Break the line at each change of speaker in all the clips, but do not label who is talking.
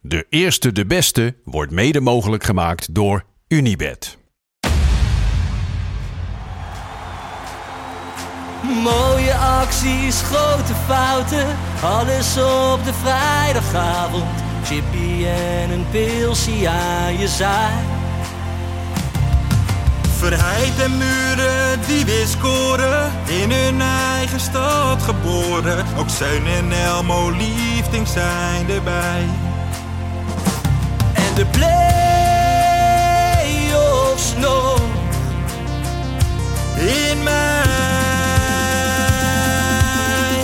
De eerste, de beste wordt mede mogelijk gemaakt door Unibed.
Mooie acties, grote fouten, alles op de vrijdagavond. Chippy en een pilsie aan je zaai.
Verheid en muren die weer scoren, in hun eigen stad geboren. Ook Zeun en Elmo liefding zijn erbij.
En de play-offs nog.
In mij.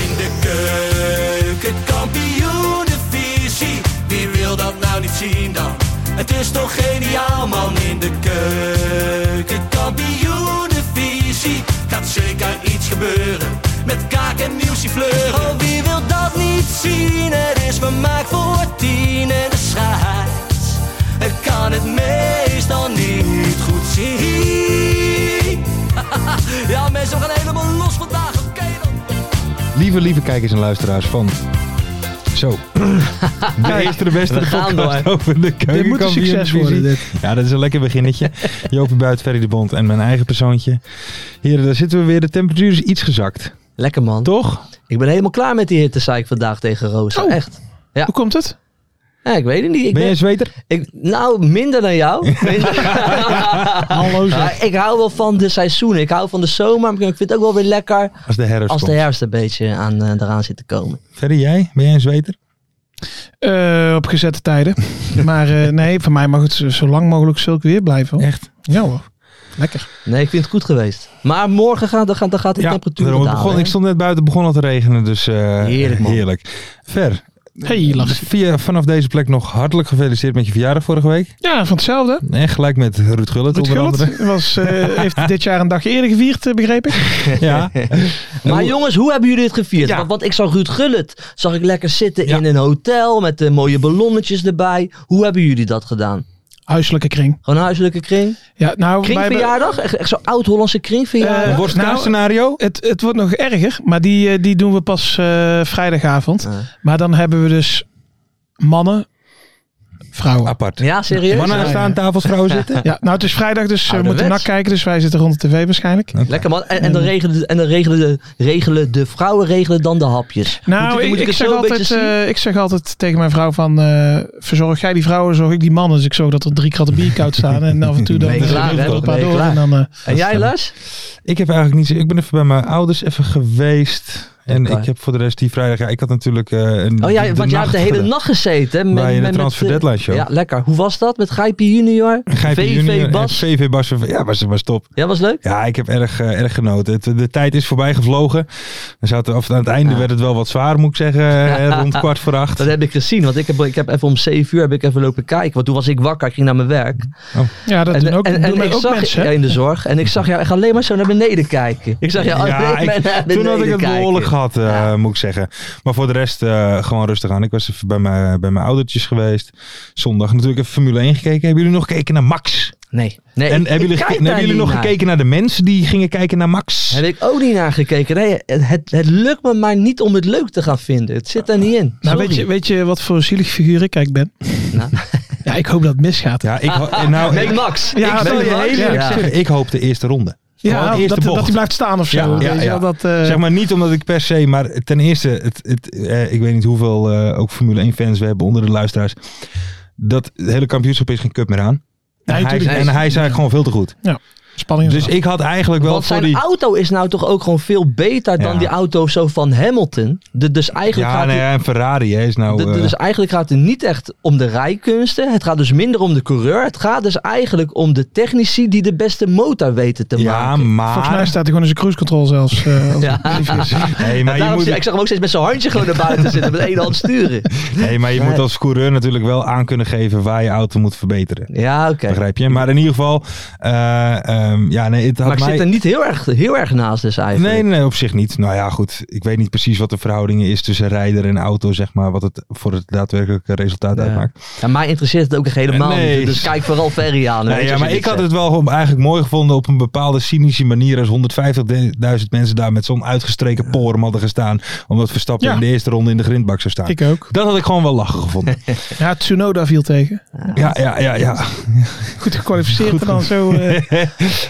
In de keuken, kampioenenvisie. Wie wil dat nou niet zien dan? Het is toch geniaal man in de keuken, kampioenenvisie. Gaat zeker iets gebeuren met kaak en nieuwsie fleuren. Oh, wie wil dat niet zien? Het is vermaakt voor tien en de scheids. Ik kan het meestal niet goed zien. ja mensen, we gaan helemaal los vandaag, oké dan.
Lieve, lieve kijkers en luisteraars van... Zo. De eerste, de beste,
We
de
gaan
podcast
door.
over de
Dit moet een succes worden,
keukenkampioenvisie. Ja, dat is een lekker beginnetje. Joopie Buit, Ferry de Bond en mijn eigen persoontje. Heren, daar zitten we weer. De temperatuur is iets gezakt.
Lekker man.
Toch?
Ik ben helemaal klaar met die hitte, zei ik vandaag tegen Roos.
Oh.
Echt. Ja.
Hoe komt het?
Ja, ik weet het niet. Ik
Ben je
ben,
een zweter?
ik, nou, minder dan jou. Minder.
Hallo zeg.
Maar ik hou wel van de seizoenen. Ik hou van de zomer. Maar ik vind het ook wel weer lekker
Als de herfst
als de
komt.
herfst een beetje aan, eh, eraan zit te komen.
Ferry, jij? Ben jij een zweter?
Eh, op gezette tijden. maar eh, nee, voor mij mag het zo, zo lang mogelijk zulk weer blijven. hoor.
Echt?
Ja hoor. Lekker.
Nee, ik vind het goed geweest. Maar morgen gaat, dan gaat, dan gaat de temperatuur
daarom.
dalen.
Het begon,
hè?
ik stond net buiten, begon al te regenen. Dus eh,
Heerlijk, man.
heerlijk. Ver,
Hey, lach.
via, vanaf deze plek nog hartelijk gefeliciteerd met je verjaardag vorige week.
Ja, van hetzelfde.
En gelijk met Ruud Gullit
Ruud
onder andere.
Gullit was, eh, heeft dit jaar een dag eerder gevierd, eh, begreep ik.
Ja.
Maar
Hoe-
jongens, hoe hebben jullie het gevierd?
Ja.
Want, want ik zag Ruud Gullit, zag ik lekker zitten
Ja.
in een hotel met de mooie ballonnetjes erbij. Hoe hebben jullie dat gedaan?
Huiselijke kring.
Gewoon een huiselijke kring?
Ja, nou, wij hebben-
Kringverjaardag? Echt, echt zo'n oud-Hollandse kringverjaardag?
Een
Eh,
worst-case
nou,
scenario.
Het, het wordt nog erger, maar die, eh, die doen we pas eh, vrijdagavond.
Ah.
Maar dan hebben we dus mannen, vrouwen.
Apart.
ja, serieus?
Mannen aan
Ja, ja.
Ah, staan tafels, vrouwen zitten.
Ja, nou het is vrijdag, dus we
Ouderwets.
moeten nak kijken. Dus wij zitten rond de tv waarschijnlijk.
Lekker man. En, en dan, regelen, de- en dan regelen, de, regelen de vrouwen regelen dan de hapjes.
Nou,
moet,
ik,
moet
ik,
het
zeg
zo een beetje
altijd,
zien?
eh, ik zeg altijd tegen mijn vrouw van... eh, verzorg jij die vrouwen, zorg ik die mannen. Dus ik zorg dat er drie kratten bier koud staan. En af en toe dan
Ben je
dan
klaar,
doen we
hè?
er een paar
Ben je
door. En
klaar?
dan, eh,
en jij Lars?
Ik heb eigenlijk niet. zo- Ik ben even bij mijn ouders even geweest. En
Oké.
ik heb voor de rest die vrijdag. Ja, ik had natuurlijk. eh, een,
Oh ja, want jij
nacht
hebt de hele
gedaan.
nacht gezeten. hè,
Bij de Transfer
eh,
Deadline Show.
Ja, lekker. Hoe was dat met Gijpie junior?
Gijpje
VV
junior en
Bas?
VV Bas. Ja, was, was top.
Ja, was leuk?
Ja, ik heb erg, eh, erg genoten. Het, de tijd is voorbij gevlogen. We zaten, of, aan het einde
Ja.
werd het wel wat zwaar, moet ik zeggen. eh, Rond kwart voor acht.
Dat heb ik gezien, want ik heb, ik heb even om 7 uur heb ik even lopen kijken. Want toen was ik wakker, ik ging naar mijn werk.
ja, dat doen ook, doen
ik
ook
zag
mensen.
ja,
hè?
in de zorg. En ik zag jou echt alleen maar zo naar beneden kijken. Ik zag jou
Ja,
alleen maar
ik-
naar beneden
toen had ik het
kijken.
behoorlijk gehad, eh, moet ik zeggen. Maar voor de rest eh, gewoon rustig aan. Ik was even bij mijn, bij mijn oudertjes geweest. Zondag natuurlijk even Formule 1 gekeken. Hebben jullie nog gekeken naar Max?
Nee. nee
en
Eh, ik-
hebben
ik
jullie,
kijk
gekeken-
daar
hebben jullie
niet
nog
naar.
gekeken naar de mensen die gingen kijken naar Max?
Heb ik ook niet naar gekeken. Nee, het, het, het lukt me maar niet om het leuk te gaan vinden. Het zit er niet in.
Nou,
Sorry.
weet je, weet je wat voor zielig figuur ik eigenlijk ben?
Nou.
Ja, ik hoop dat het misgaat.
Ja, ik, ho- eh, nou,
Nee,
ik,
Max.
Ja,
ik
dat
zie
wil je
Max.
heel eerlijk
Ja.
zeggen, ik hoop de eerste ronde. Gewoon
Ja,
de eerste
dat, dat
bocht.
hij blijft staan of zo.
Ja, ja,
weet je wel,
ja.
Dat, eh,
Zeg maar niet omdat ik per se, maar ten eerste, het, het, eh, ik weet niet hoeveel eh, ook Formule 1 fans we hebben onder de luisteraars. Dat hele kampioenschap is geen cup meer aan.
Nee,
en, hij,
tuurlijk
en
niet.
hij is eigenlijk gewoon veel te goed.
Ja. Spanning.
Dus ik had eigenlijk wel
Want
voor
zijn
die...
auto is nou toch ook gewoon veel beter dan
Ja.
die auto zo van Hamilton. De- dus eigenlijk
Ja,
gaat
nee,
het-
ja, een Ferrari hè, is nou...
de- de-
eh,
dus eigenlijk gaat het niet echt om de rijkunsten. Het gaat dus minder om de coureur. Het gaat dus eigenlijk om de technici die de beste motor weten te
ja,
maken.
maar...
Volgens mij staat hij gewoon in zijn cruise control zelfs. eh, als-
Hey, maar
En
je
daarom
moet,
zie- ik zag hem ook steeds met zijn handje gewoon naar buiten zitten. Met één hand sturen.
hey, maar je moet als coureur natuurlijk wel aan kunnen geven waar je auto moet verbeteren.
Ja, oké.
Begrijp je? Maar in ieder geval, eh, ehm, ja, nee, het had
Maar ik
mij...
zit er niet heel erg, heel erg naast dus eigenlijk.
Nee, nee, nee, op zich niet. Nou ja, goed. Ik weet niet precies wat de verhouding is tussen rijder en auto, zeg maar. Wat het voor het daadwerkelijke resultaat
Ja.
uitmaakt.
Ja, mij interesseert het ook echt helemaal
Nee.
niet. Dus kijk vooral Ferry aan.
Nee,
weet je,
ja,
als je
maar
dit
ik had
zegt.
het wel gewoon eigenlijk mooi gevonden op een bepaalde cynische manier. Als 150.000 mensen daar met zo'n uitgestreken porum hadden gestaan. Omdat Verstappen
Ja.
in de eerste ronde in de grindbak zou staan.
Ik ook.
Dat had ik gewoon wel lachen gevonden.
Ja, Tsunoda viel tegen.
ja, ja, ja, ja.
Goed gekwalificeerd en dan zo. eh,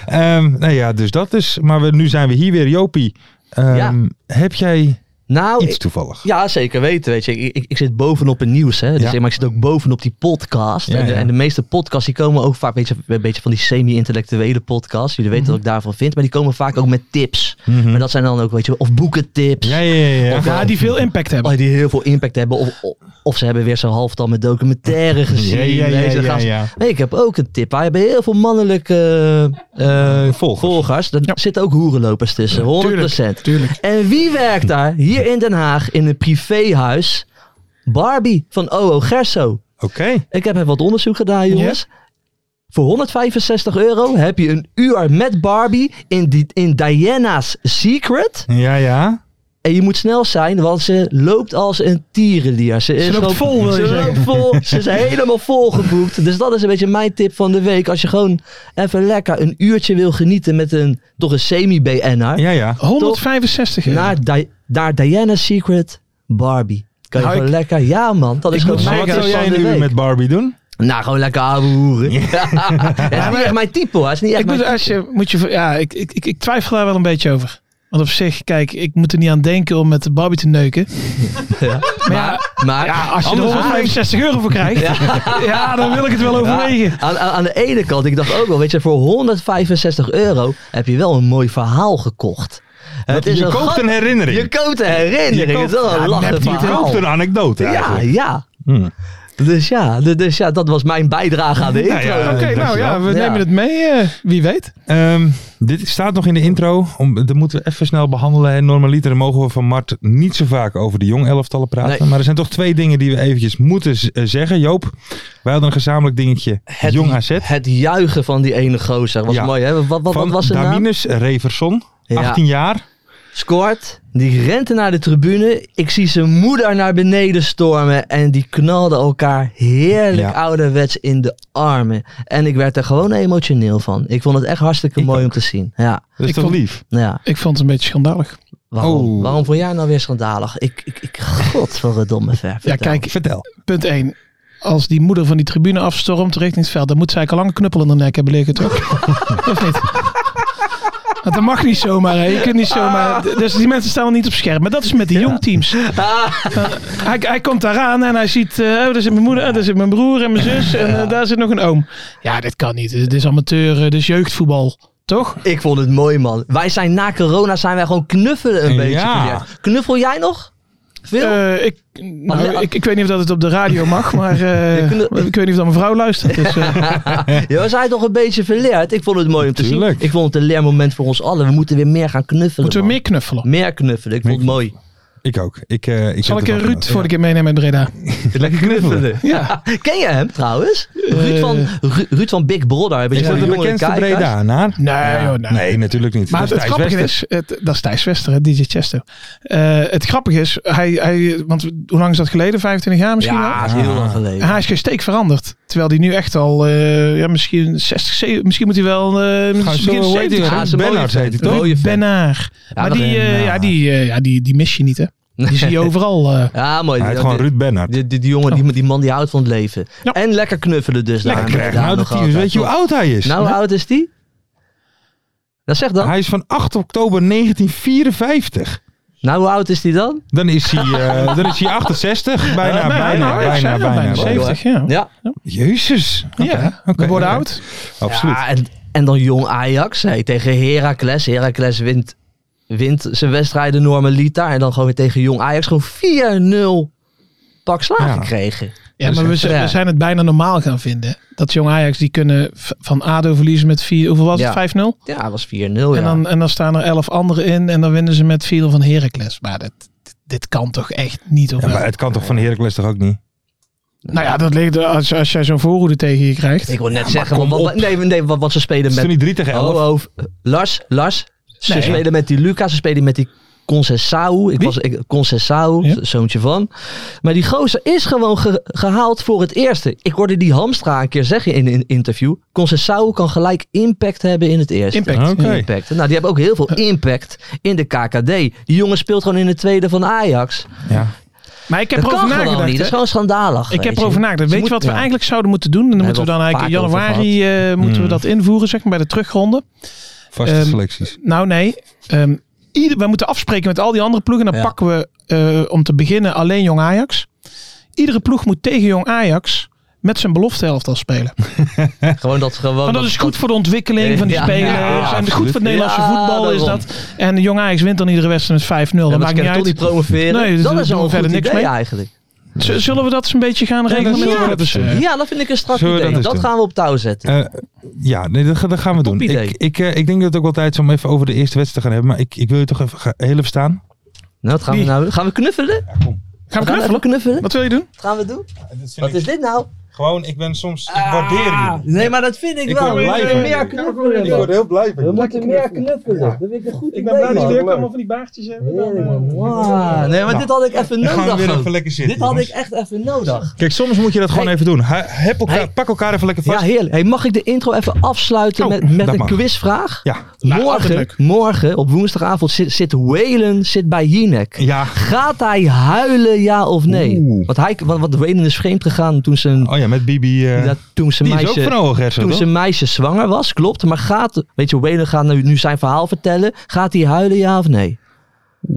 Ehm, nou ja, dus dat is. Maar we, nu zijn we hier weer. Jopie, ehm,
Ja.
heb jij
Nou,
iets
ik-
toevallig?
ja, zeker weten. Weet je. Ik, ik, ik zit bovenop het nieuws. Hè. Dus,
Ja.
Maar ik zit ook bovenop die podcast.
Ja,
en, de,
ja.
en de meeste podcasts die komen ook vaak weet je, een beetje van die semi-intellectuele podcasts. Jullie
Mhm.
weten wat ik daarvan vind. Maar die komen vaak ook met tips. Maar dat zijn dan ook, weet je, of boekentips.
Ja, ja, ja. ja.
Of-
ja, die veel impact hebben.
Oh, die heel veel impact hebben. Of, of, of ze hebben weer zo'n halftal met documentaire gezien.
Ja, ja, ja,
Weet je, dan
ja,
gaan ze-
ja.
Nee, ik heb ook een tip. Wij hebben heel veel mannelijke eh, eh, volgers. Daar
Ja.
zitten ook hoerenlopers tussen, 100%.
tuurlijk.
En wie werkt daar? Hier in Den Haag, in een privéhuis. Barbie van OO Gerso.
Oké.
Ik heb even wat onderzoek gedaan, jongens. Voor 165 euro heb je een uur met Barbie in, die, in Diana's Secret.
Ja, ja.
En je moet snel zijn, want ze loopt als een tierenlier. Ze, is
loopt
gewoon-
vol, wil je
ze
zeggen.
loopt vol. Ze is helemaal vol geboekt. Dus dat is een beetje mijn tip van de week. Als je gewoon even lekker een uurtje wil genieten met een toch een semi-BN'er.
Ja, ja.
165 euro.
Naar Di- daar Diana's Secret Barbie. Kan je
Nou,
gewoon lekker... Ja man, dat is
ik
gewoon
moet
Maar
mijn
wat
zeggen,
tip
zou jij
van de
nu
week.
met Barbie doen?
Nou, gewoon lekker ouwe hoeren. dat is niet echt mijn type hoor. Dat is niet echt
Ik
mijn
moet,
type.
als je, moet je, ja, ik, ik, ik, ik twijfel daar wel een beetje over. Want op zich, kijk, ik moet er niet aan denken om met de Barbie te neuken. Maar, ja,
Maar
ja, als je er
Anders-
165 euro voor krijgt, ja. dan wil ik het wel overwegen.
Ah, Aan, aan, aan de ene kant, ik dacht ook wel, weet je, voor 165 euro heb je wel een mooi verhaal gekocht. Het
je koopt
gat-
een herinnering.
Je koopt een herinnering.
Je
het is wel een
koopt-
lachen
Je
verhaal.
koopt een anekdote
Ja,
eigenlijk.
ja.
Hmm.
Dus ja, d- dus ja, dat was mijn bijdrage aan de intro.
ja,
Oké,
eh,
nou ja,
dankjewel.
we
Ja.
nemen het mee. eh, wie weet.
Ehm, dit staat nog in de intro. Om, dat moeten we even snel behandelen. En normaliter mogen we van Mart niet zo vaak over de jong elftallen praten.
Nee.
Maar er zijn toch twee dingen die we eventjes moeten z- eh, zeggen. Joop, wij hadden een gezamenlijk dingetje.
Het,
jong AZ.
het juichen van die ene gozer was
Ja.
mooi. Hè? Wat, wat, wat
Van
was zijn naam?
Damines Reverson.
Ja.
18 jaar.
Scoort. Die rente naar de tribune. Ik zie zijn moeder naar beneden stormen. En die knalden elkaar heerlijk
Ja.
ouderwets in de armen. En ik werd er gewoon emotioneel van. Ik vond het echt hartstikke mooi om te zien. Ja, nou
Dat is
Ik
toch
vond-
lief?
ja.
Ik vond het een beetje schandalig.
Waarom,
Oh.
waarom vond jij nou weer schandalig? Ik, ik, ik godverdomme ver.
Ja,
vertel.
kijk,
Vertel.
punt 1. Als die moeder van die tribune afstormt richting het veld, dan moet zij eigenlijk al lang een knuppel in de nek hebben liggen, toch? of niet? Want dat mag niet zomaar, hè. Je kunt niet
Ah.
zomaar... Dus die mensen staan wel niet op scherp. Maar dat is met die jongteams.
Ah.
Dan- Hij, hij komt daaraan en hij ziet... eh, oh, daar zit mijn moeder, oh, daar zit mijn broer en mijn zus. En eh, daar zit nog een oom. Ja, dit kan niet. Dit is amateur, eh, dit is jeugdvoetbal. Toch?
Ik vond het mooi, man. Wij zijn na corona zijn wij gewoon knuffelen een
Ja.
beetje. geleerd. Knuffel jij nog? Veel?
Eh, ik, nou, ik, ik weet niet of dat het op de radio mag, maar eh,
Je kunt-
ik weet niet of dat mijn vrouw luistert. Dus, eh,
Ja, we zijn toch een beetje verleerd. Ik vond het mooi om te
Tuurlijk.
zien. Ik vond het een leermoment voor ons allen. We moeten weer meer gaan knuffelen.
moeten we
man.
meer knuffelen.
Meer knuffelen. Ik vond het mooi.
Ik ook. Ik, eh, ik
Zal
heb
ik
ervan
een Ruud
genoten.
voor de keer meenemen met Breda?
Ja. Lekker knuffelen. Eh.
Ja.
Ken je hem trouwens? Ruud, van, Ru- Ruud van Big Brother. Heb je
Is
zo'n
dat de
jongere
bekendste
kijkers?
Breda? naar?
Nee, joh, nee.
Nee, natuurlijk niet.
Maar
Dat
het,
is Thijs
grappige
Wester.
is, het, dat is Thijs Wester, hè, DJ Chesto. Eh, het grappige is, hij, hij, want hoe lang is dat geleden? 25 jaar misschien
Ja,
al?
dat is heel lang
En
geleden.
hij is geen steek veranderd. Terwijl hij nu echt al, eh, ja, misschien 60, 70, misschien moet hij wel eh
Gaan
begin
zo, hoe heet
70
die?
Ja,
Ruud
is een mooie
Bernhard
vent.
heet hij
Een
toch?
mooie vent.
Bennaar. maar
dat-
die, eh, ja, die, eh, ja, die, die mis je niet, hè? Die zie je overal. eh.
Ja, mooi.
Hij heet
Die-
gewoon
die-
Ruud Bernhard.
Die, die, die jongen, die, die man die houdt van het leven.
Ja.
En lekker knuffelen dus. daar.
Lekker krijgen.
Daar
Nou,
nog
dat hij-
altijd.
weet je hoe oud hij is?
Nou, hoe oud is die? Dat zeg dan.
Hij is van 8 oktober 1954.
Nou, hoe oud is die dan?
Dan is hij, eh, dan is hij 68. Bijna,
Nee,
bijna,
hoor, ik
bijna,
zei
bijna.
al, bijna 70, ja.
Ja.
Jezus.
Ja,
Oké,
we worden
oké.
oud.
Absoluut.
Ja, en En dan jong Ajax hey, tegen Heracles. Heracles wint, wint zijn wedstrijden normalita. En dan gewoon weer tegen jong Ajax gewoon 4-0 pak slaag
Ja.
gekregen.
Ja, maar we, z-
Ja.
we zijn het bijna normaal gaan vinden. Dat jong Ajax, die kunnen v- van ADO verliezen met 4, hoeveel was
Ja.
het? 5-0?
Ja, dat was 4-0. Ja.
En, dan, en dan staan er 11 anderen in en dan winnen ze met 4-0 van Heracles. Maar dat, dit- dit kan toch echt niet? Of
Ja,
wel?
maar het kan toch van Heracles toch ook niet?
Nou ja, dat ligt er- als, als jij zo'n voorhoede tegen je krijgt.
Ik wil net zeggen, want, wat- nee, nee, wat, wat ze spelen
Het is
met...
toen niet 3 tegen 11.
Oh, oh, Lars, Lars. Ze
Nee.
spelen met die Lucas, ze spelen met die Concessao. Ik
Wie?
was ik, Concessao,
Ja.
z- zoontje van. Maar die gozer is gewoon ge- gehaald voor het eerste. Ik hoorde die Hamstra een keer zeggen in een interview. Concessao kan gelijk impact hebben in het eerste.
Impact. Eh.
Oké.
Impact. Nou, die hebben ook heel veel impact in de KKD. Die jongen speelt gewoon in de tweede van Ajax.
Ja.
Maar ik heb
Dat
erover
kan
nagedacht.
gewoon niet. Dat
hè.
is gewoon schandalig.
Ik heb
weet je.
erover nagedacht.
Ze
Weet je
moet-
wat we
ja.
eigenlijk zouden moeten doen? En dan moeten we
hebben
dan
we
eigenlijk in
al vaak over
januari eh, moeten we
Hmm.
dat invoeren, zeg maar, bij de terugronde.
Vaste
Ehm,
selecties.
Nou, nee. Ehm ieder, wij moeten afspreken met al die andere ploegen. Dan
Ja.
pakken we eh, om te beginnen alleen Jong Ajax. Iedere ploeg moet tegen Jong Ajax met zijn beloftehelft al spelen.
Gewoon Oh, dat gewoon...
Want dat is goed voor de ontwikkeling van die
Ja,
spelers.
ja,
en
absoluut.
goed voor het Nederlandse
Ja,
voetbal is
daarom.
dat. En Jong Ajax wint dan iedere wedstrijd met 5-0.
Ja,
Dat
maar ze
maakt niet
kunnen toch
uit.
niet promoveren.
Nee, dus
dat
we
is
doen
wel een
er verder
goed
niks
idee
mee.
eigenlijk.
Z- Zullen we dat eens een beetje gaan regelen?
dat
met
zullen we
elkaar?
dat eens
Dus, eh,
Ja, dat vind ik een strak
Zullen we
idee.
dat
Dat,
eens doen?
gaan we op touw zetten.
Eh, ja, nee, dat, ga- dat gaan we doen.
Topidee.
Ik, ik, eh, ik denk dat het ook wel tijd is om even over de eerste wedstrijd te gaan hebben. Maar ik, ik wil je toch even ga- heel even staan.
Nou, wat gaan we
Wie?
nou? Gaan we knuffelen? Gaan
Gaan we
we even
knuffelen?
knuffelen?
Wat wil je doen?
Wat gaan we doen? Wat is dit nou?
Gewoon, ik ben soms... Ik waardeer
Ah, Nee, maar dat vind ik,
Ik
wel.
word
We
blij
moeten
van
meer
je.
knuffelen.
heel blij
We moeten meer knuffelen. Dat vind ik een goed idee, man.
allemaal van die baardjes
Heerlijk, man. Wow. Nee, maar dit had ik even
Dan gaan we weer
nodig.
even
ook.
lekker zitten.
Dit had ik
jongens.
echt even nodig.
Kijk, soms moet je dat gewoon
Hey.
even doen. Ha- heb elkaar,
Hey.
Pak elkaar even lekker
Ja,
vast.
heerlijk. Hey, mag ik de intro even afsluiten
Oh,
met, met
dat
een eh,
mag.
quizvraag?
Ja. Nou,
altijd
Morgen,
leuk.
morgen, op woensdagavond, zit, zit Whalen zit bij Jinek.
Ja.
Gaat hij huilen, ja of nee?
Oeh.
Want, hij, want, want Whalen is vreemd gegaan toen zijn,
Oh ja, met Bibi. eh,
ja, toen zijn
die is ook
meisje...
van Owen Gersen,
toen
toch?
zijn meisje zwanger was, klopt. Maar gaat, weet je, Whalen gaat nu, nu zijn verhaal vertellen. Gaat hij huilen, ja of nee?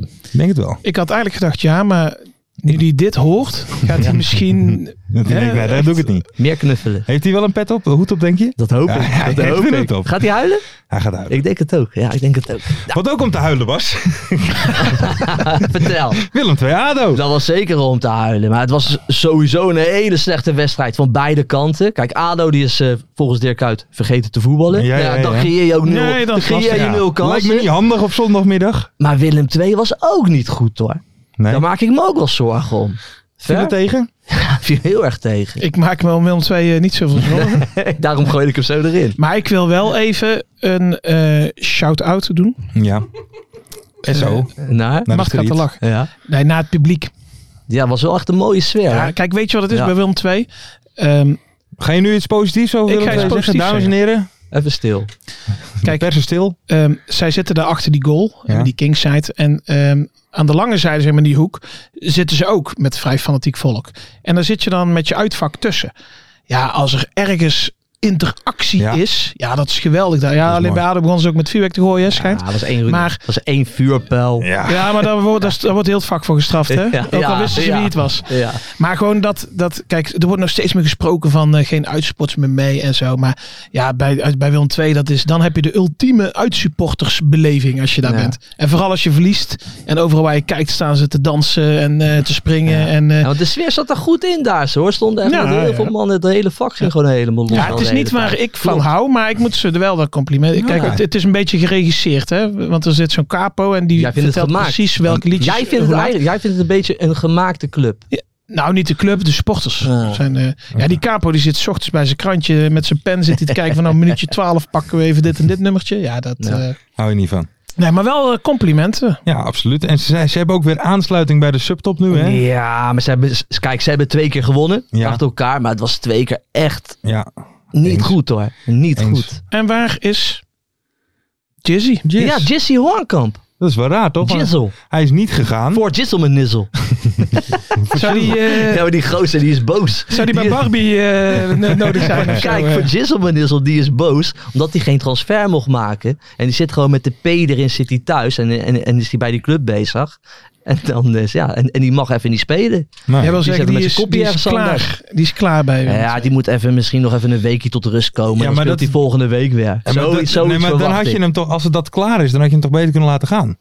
Ik denk het wel.
Ik had eigenlijk gedacht ja, maar nu die dit hoort, gaat hij misschien...
Dat
Ja,
denk ik, nee, dat
echt.
doe ik het niet.
Meer knuffelen.
Heeft hij wel een pet op? Een hoed op, denk je?
Dat hoop ik.
Ja, ja,
dat
ik
hoop
vind
ik.
het op.
Gaat hij huilen?
Hij gaat uit.
Ik denk het ook. Ja, ik denk het ook.
Wat ook om te huilen was.
Vertel.
Willem 2 ADO.
Dat was zeker om te huilen. Maar het was sowieso een hele slechte wedstrijd van beide kanten. Kijk, ADO die is eh, volgens Dirk Kuyt vergeten te voetballen.
Ja, ja, ja,
dan
ja.
creëer je ook nul,
Nee, dat
dan
is
creëer je
Ja.
nul
Lijkt me
kansen.
niet handig op zondagmiddag.
Maar Willem II was ook niet goed hoor.
Nee.
Daar maak ik me ook wel zorgen om.
Viel er
Ver?
tegen?
Viel heel erg tegen.
Ik maak me om Willem II eh, niet zoveel zorgen.
Daarom gooi ik hem zo erin.
Maar ik wil wel even een eh, shout-out doen.
Ja. En zo.
Nou,
Naar de
Macht gaat te
street.
lachen.
ja.
Nee, naar het publiek.
ja, was wel echt een mooie sfeer.
Ja,
hè?
kijk, weet je wat het is
Ja.
bij Willem II? Ehm,
Ga je nu iets positiefs over
Ik
Willem
ga iets
II zeggen,
positiefs
dames en heren?
Even stil.
Kijk.
Kijk.
Persen stil.
ehm, zij zitten daar achter die goal,
Ja.
eh, die kingside. En ehm, aan de lange zijde, zeg maar in die hoek, zitten ze ook met vrij fanatiek volk. En daar zit je dan met je uitvak tussen. Ja, als er ergens interactie
Ja.
is, ja, dat is geweldig. daar. Ja,
is
alleen bij ADO begonnen ze ook met vuurwerk te gooien, hè,
Ja,
schijnt.
dat was één,
Maar-
dat was één vuurpijl.
Ja.
Ja, maar daar wordt, daar is- daar wordt heel het vak voor gestraft, hè?
Ja,
Ook al
ja,
wisten ze
ja.
wie het was.
Ja.
Maar gewoon dat, dat, kijk, er wordt nog steeds meer gesproken van eh, geen uitspots meer mee en zo. Maar ja, bij, uit- bij Willem II, dat is, dan heb je de ultieme uitsupportersbeleving als je daar
Ja.
bent. En vooral als je verliest en overal waar je kijkt staan ze te dansen en eh, te springen. En, eh,
Ja, want de sfeer zat er goed in daar, hoor. Stonden echt
Ja,
met heel
ja.
veel mannen. Het hele vak ging gewoon helemaal los.
ja, het is niet waar ik van hou, maar ik moet ze er wel dat compliment. Kijk, het, het is een beetje geregisseerd, hè? Want er zit zo'n capo en die
Jij vindt het
vertelt
gemaakt.
precies welke liedjes.
Jij vindt, het
hoe laat-
eigenlijk, jij vindt het een beetje een gemaakte club.
Nou, niet de club, de sporters.
Ja.
Zijn, eh, ja, die capo die zit 's ochtends bij zijn krantje met zijn pen zit hij te kijken van nou minuutje 12 pakken we even dit en dit nummertje. Ja, dat.
Ja.
eh,
Hou je niet van.
nee, maar wel eh, complimenten.
Ja, absoluut. En ze, zei- ze hebben ook weer aansluiting bij de subtop nu, hè?
Ja, maar ze hebben, s- kijk, ze hebben twee keer gewonnen.
Ja.
Achter elkaar, maar het was twee keer echt
Ja.
niet
Eens.
goed hoor. Niet
Eens.
goed.
En waar is Jizzy?
Ja, Jizzy Hornkamp.
Dat is wel raar, toch? Want
Jizzle.
Hij is niet
Hm?
gegaan.
Voor Jizzle mijn nizzle.
Zou die, eh,
Ja, maar die gozer die is boos.
zou die bij
Die-
Barbie eh, n-
nou,
nodig zijn? of zo,
Kijk,
eh?
voor Jizzle mijn nizzle, die is boos. Omdat hij geen transfer mocht maken. En die zit gewoon met de P erin, zit hij thuis. En, en, en is hij bij die club bezig. En dan is, ja, en, en die mag even niet spelen.
Nee.
Jij wil
Die
zeggen,
zetten
die
met
is,
zijn kop
die
die
is
ergens aan
klaar. Die is klaar bij
Ja,
hem.
ja, die moet even, misschien nog even een weekje tot de rust komen.
Ja,
Ja, maar
maar
dan speelt
dat-
hij volgende week weer.
Ja, maar
Zoiets-
dat-
zoiets
nee, maar dan
verwacht
had je
ik.
hem toch, als het dat klaar is, dan had je hem toch beter kunnen laten gaan.
Dat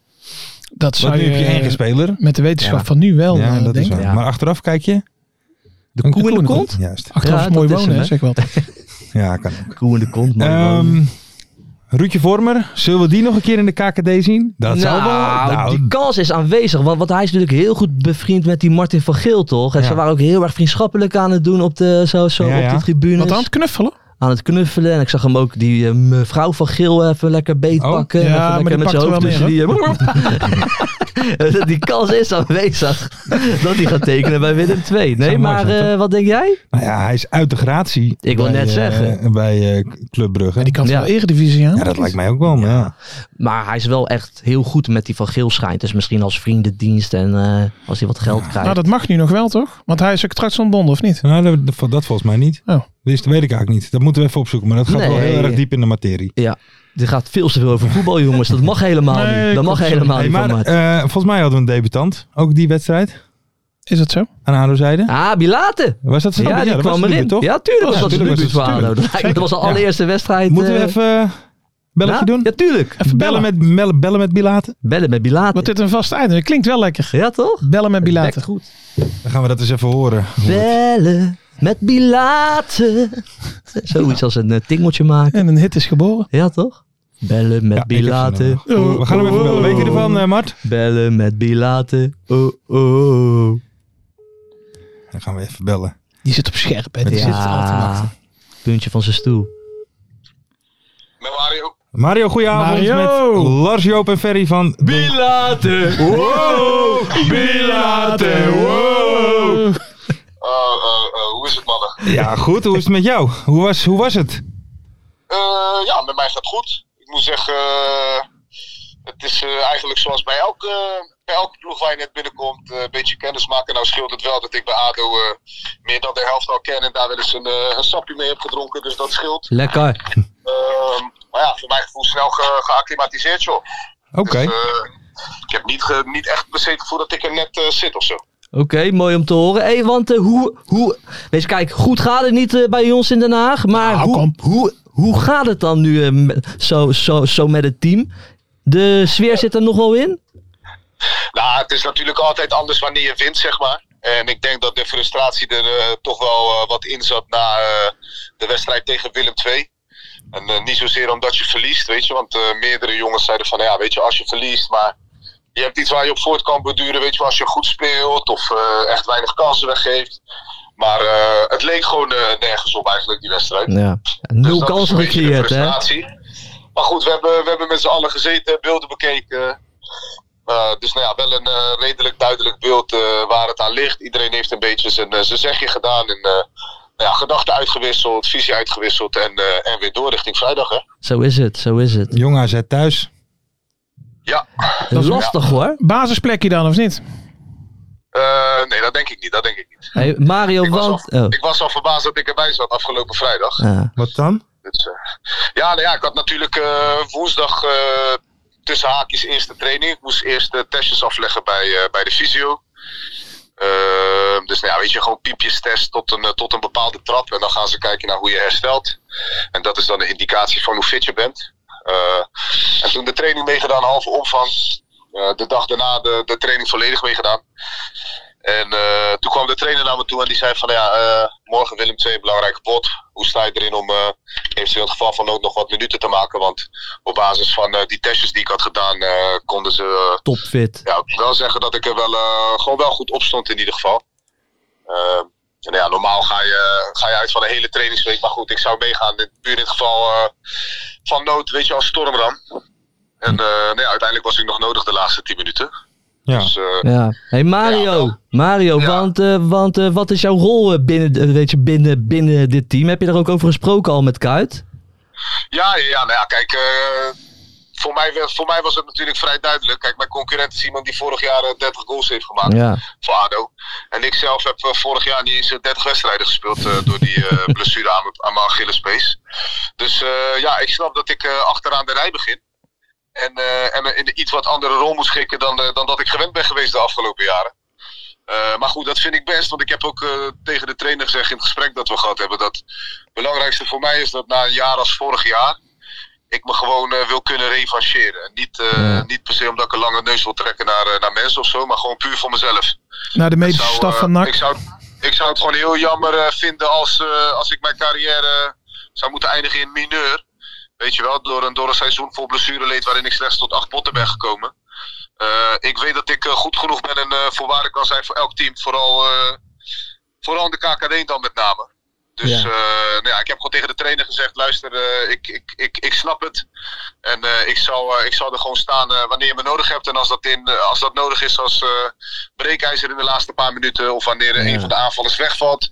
Want
zou
nu
je, eh,
heb je één speler.
met de wetenschap
Ja.
van nu wel,
ja,
eh,
dat is
denken.
waar.
nou, Ja.
Maar achteraf kijk je. De
koe in de kont?
Juist.
Achteraf
Ja,
mooi
dat is
wonen,
hem,
hè,
hè.
zeg wel.
Ja, kan ook.
Koe in de kont, man.
Ehm Ruudje Vormer, zullen we die nog een keer in de KKD zien? Dat zou wel. nou,
die kans is aanwezig. Want, want hij is natuurlijk heel goed bevriend met die Martin van Geel, toch? En
Ja.
ze waren ook heel erg vriendschappelijk aan het doen op de, zo, zo,
Ja,
op
ja.
de tribune.
Wat aan het knuffelen?
Aan het knuffelen. En ik zag hem ook die eh, mevrouw van Geel even lekker beetpakken.
Oh,
en
ja,
even
maar die
lekker met zijn hoofd
pakt er
tussen
wel
die... eh, die kans is aanwezig dat hij gaat tekenen bij Willem 2. Nee,
mooi
maar
zijn,
eh, wat denk jij?
nou ja, hij is uit de gratie.
Ik wil
bij,
net
eh,
zeggen.
bij eh Club Brugge.
Ja, die kan
Ja.
wel eredivisie aan.
Ja, dat lijkt mij ook wel. maar Ja.
Maar hij is wel echt heel goed met die van Geel schijnt. Dus misschien als vriendendienst en eh, als hij wat geld krijgt.
Nou, dat mag nu nog wel, toch? Want hij is ook straks ontbonden, of niet?
Nou, dat, dat- dat volgens mij niet.
Oh.
Dus dat weet ik eigenlijk niet. Dat moeten we even opzoeken. Maar dat gaat wel
Nee.
heel erg diep in de materie.
Dit gaat veel te veel over voetbal, jongens. Dat mag helemaal
Nee,
niet. Dat
klopt,
mag
sorry.
helemaal
Hey,
niet.
maar
van Mart.
eh, volgens mij hadden we een debutant. Ook die wedstrijd.
Is dat zo?
Aan ADO-zijde.
ah, Bilate.
Was eh, dat zo?
Ja, die
dat was
kwam
het
erin.
toch?
Ja, tuurlijk
Ja,
was dat
tuurlijk
debuut
was
voor
het
ADO.
tuurlijk.
Dat was de
Zeker.
allereerste wedstrijd.
Moeten we
eh,
even eh, belletje
ja?
doen?
Ja, tuurlijk.
Even
bellen,
bellen.
met, bellen, bellen met Bilaten.
Bellen met Bilate.
Wat dit een vast einde. Dat klinkt wel lekker.
Ja, toch?
Bellen met
Dekt
Bilater.
goed.
Dan gaan we dat eens even horen.
Bellen met Bilate. Zoiets als een eh, tingeltje maken.
En een hit is geboren.
Ja, toch? Bellen met
Ja, ik heb ze
Bilate.
nog.
Oh,
Goed, We gaan hem even bellen. Weet je ervan, eh, Mart?
Bellen met Bilate. Oh, oh, oh.
Dan gaan we even bellen.
Die zit op scherp, hè? Die
Ja.
zit al te wachten.
Puntje van zijn stoel.
Mario, goedenavond
Mario!
met Lars, Joop en Ferry van... de-
Bilate.
Wow! Bilate, wow!
Oh, oh, oh, hoe is het, mannen?
Ja, goed. Hoe is het met jou? Hoe was, hoe was het?
Eh, ja, met mij gaat het goed. Ik moet zeggen, eh, het is eh, eigenlijk zoals bij elke, bij elke ploeg waar je net binnenkomt, eh, een beetje kennis maken. Nou scheelt het wel dat ik bij ADO eh, meer dan de helft al ken en daar wel eens een, eh, een sapje mee heb gedronken, dus dat scheelt.
Lekker.
Ehm, maar ja, voor mijn gevoel snel ge- geacclimatiseerd, joh.
Oké.
Dus, eh, ik heb niet, ge- niet echt per se het gevoel dat ik er net eh, zit of zo.
Oké, mooi om te horen. Hey, want eh, hoe, hoe. Wees kijk, goed gaat het niet eh, bij ons in Den Haag. Maar
Nou,
hoe,
kom.
hoe, hoe gaat het dan nu eh, met- zo, zo, zo met het team? De sfeer zit er nog wel in?
Nou, het is natuurlijk altijd anders wanneer je wint, zeg maar. En ik denk dat de frustratie er eh, toch wel eh, wat in zat na eh, de wedstrijd tegen Willem II. En eh, niet zozeer omdat je verliest, weet je. Want eh, meerdere jongens zeiden van, ja, weet je, als je verliest, maar... Je hebt iets waar je op voort kan beduren, weet je, als je goed speelt of eh, echt weinig kansen weggeeft. Maar eh, het leek gewoon eh, nergens op eigenlijk, die wedstrijd.
Ja.
Dus
Nul
dat is
kansen
een beetje de
gecreëerd, hè?
frustratie. Maar goed, we hebben, we hebben met z'n allen gezeten, beelden bekeken. Eh, dus nou ja, wel een eh, redelijk duidelijk beeld eh, waar het aan ligt. Iedereen heeft een beetje zijn, eh, zijn zegje gedaan. En, eh, nou ja, gedachten uitgewisseld, visie uitgewisseld en, eh, en weer door richting vrijdag. Hè?
Zo is het, zo is het.
Jong AZ thuis.
Ja,
Lastig hoor.
Basisplekje dan, of niet?
Eh, nee, dat denk ik niet. Dat denk ik niet.
Hey, Mario,
Ik was,
want.
al,
Oh.
ik was al verbaasd dat ik erbij zat afgelopen vrijdag.
Ja.
Wat dan?
Dus, eh, ja, nou ja, ik had natuurlijk eh, woensdag eh, tussen haakjes eerste training. Ik moest eerst eh, testjes afleggen bij, eh, bij de fysio. Ehm, dus nou ja, weet je, gewoon piepjes test tot een, eh, tot een bepaalde trap. En dan gaan ze kijken naar hoe je herstelt. En dat is dan een indicatie van hoe fit je bent. Eh, en toen de training meegedaan, halve omvang. Eh, de dag daarna de, de training volledig meegedaan. En eh, toen kwam de trainer naar me toe en die zei van ja, eh, morgen Willem II, belangrijke pot. Hoe sta je erin om eh, eventueel in het geval van nood nog wat minuten te maken? Want op basis van eh, die testjes die ik had gedaan, eh, konden ze eh,
Topfit.
ja, ik wil wel zeggen dat ik er wel, eh, gewoon wel goed op stond in ieder geval. Ehm, en ja, normaal ga je, ga je uit van een hele trainingsweek. Maar goed, ik zou meegaan. Dit, puur in het geval eh, van nood, weet je, als stormram. En eh, nou ja, uiteindelijk was ik nog nodig de laatste 10 minuten.
Ja.
Dus eh,
Ja. Hey Mario,
Ja.
Mario,
Ja.
want, eh, want eh, wat is jouw rol eh, binnen, eh, weet je, binnen, binnen dit team? Heb je daar ook over gesproken al met Kuit?
Ja, ja, ja, nou ja kijk, eh, voor, mij, werd- voor mij was het natuurlijk vrij duidelijk. Kijk, mijn concurrent is iemand die vorig jaar eh, 30 goals heeft gemaakt
Ja.
voor ADO. En ik zelf heb eh, vorig jaar niet eens eh, 30 wedstrijden gespeeld eh, door die eh, blessure aan, mijn- aan mijn Achillespees. Dus eh, ja, ik snap dat ik eh, achteraan de rij begin. En, eh, en in een iets wat andere rol moet schikken dan, eh, dan dat ik gewend ben geweest de afgelopen jaren. Eh, maar goed, dat vind ik best. Want ik heb ook eh, tegen de trainer gezegd in het gesprek dat we gehad hebben. Dat het belangrijkste voor mij is dat na een jaar als vorig jaar. ik me gewoon eh, wil kunnen revancheren. En niet, eh, niet per se omdat ik een lange neus wil trekken naar, eh, naar mensen of zo. maar gewoon puur voor mezelf.
Naar de medische
zou,
staf
eh,
van NAC.
Ik zou, ik zou het gewoon heel jammer eh, vinden als, eh, als ik mijn carrière eh, zou moeten eindigen in mineur. Weet je wel, door een, door een seizoen vol blessureleed waarin ik slechts tot acht potten ben gekomen. Eh, ik weet dat ik eh, goed genoeg ben en eh voorwaarde kan zijn voor elk team. Vooral, eh, vooral in de KKD dan met name. Dus
Ja.
eh, nou ja, ik heb gewoon tegen de trainer gezegd, luister, eh, ik, ik, ik, ik snap het. En eh, ik, zal, eh, ik zal er gewoon staan eh, wanneer je me nodig hebt. En als dat, in, eh, als dat nodig is als eh, breekijzer in de laatste paar minuten. Of wanneer eh, een van de aanvallers wegvalt.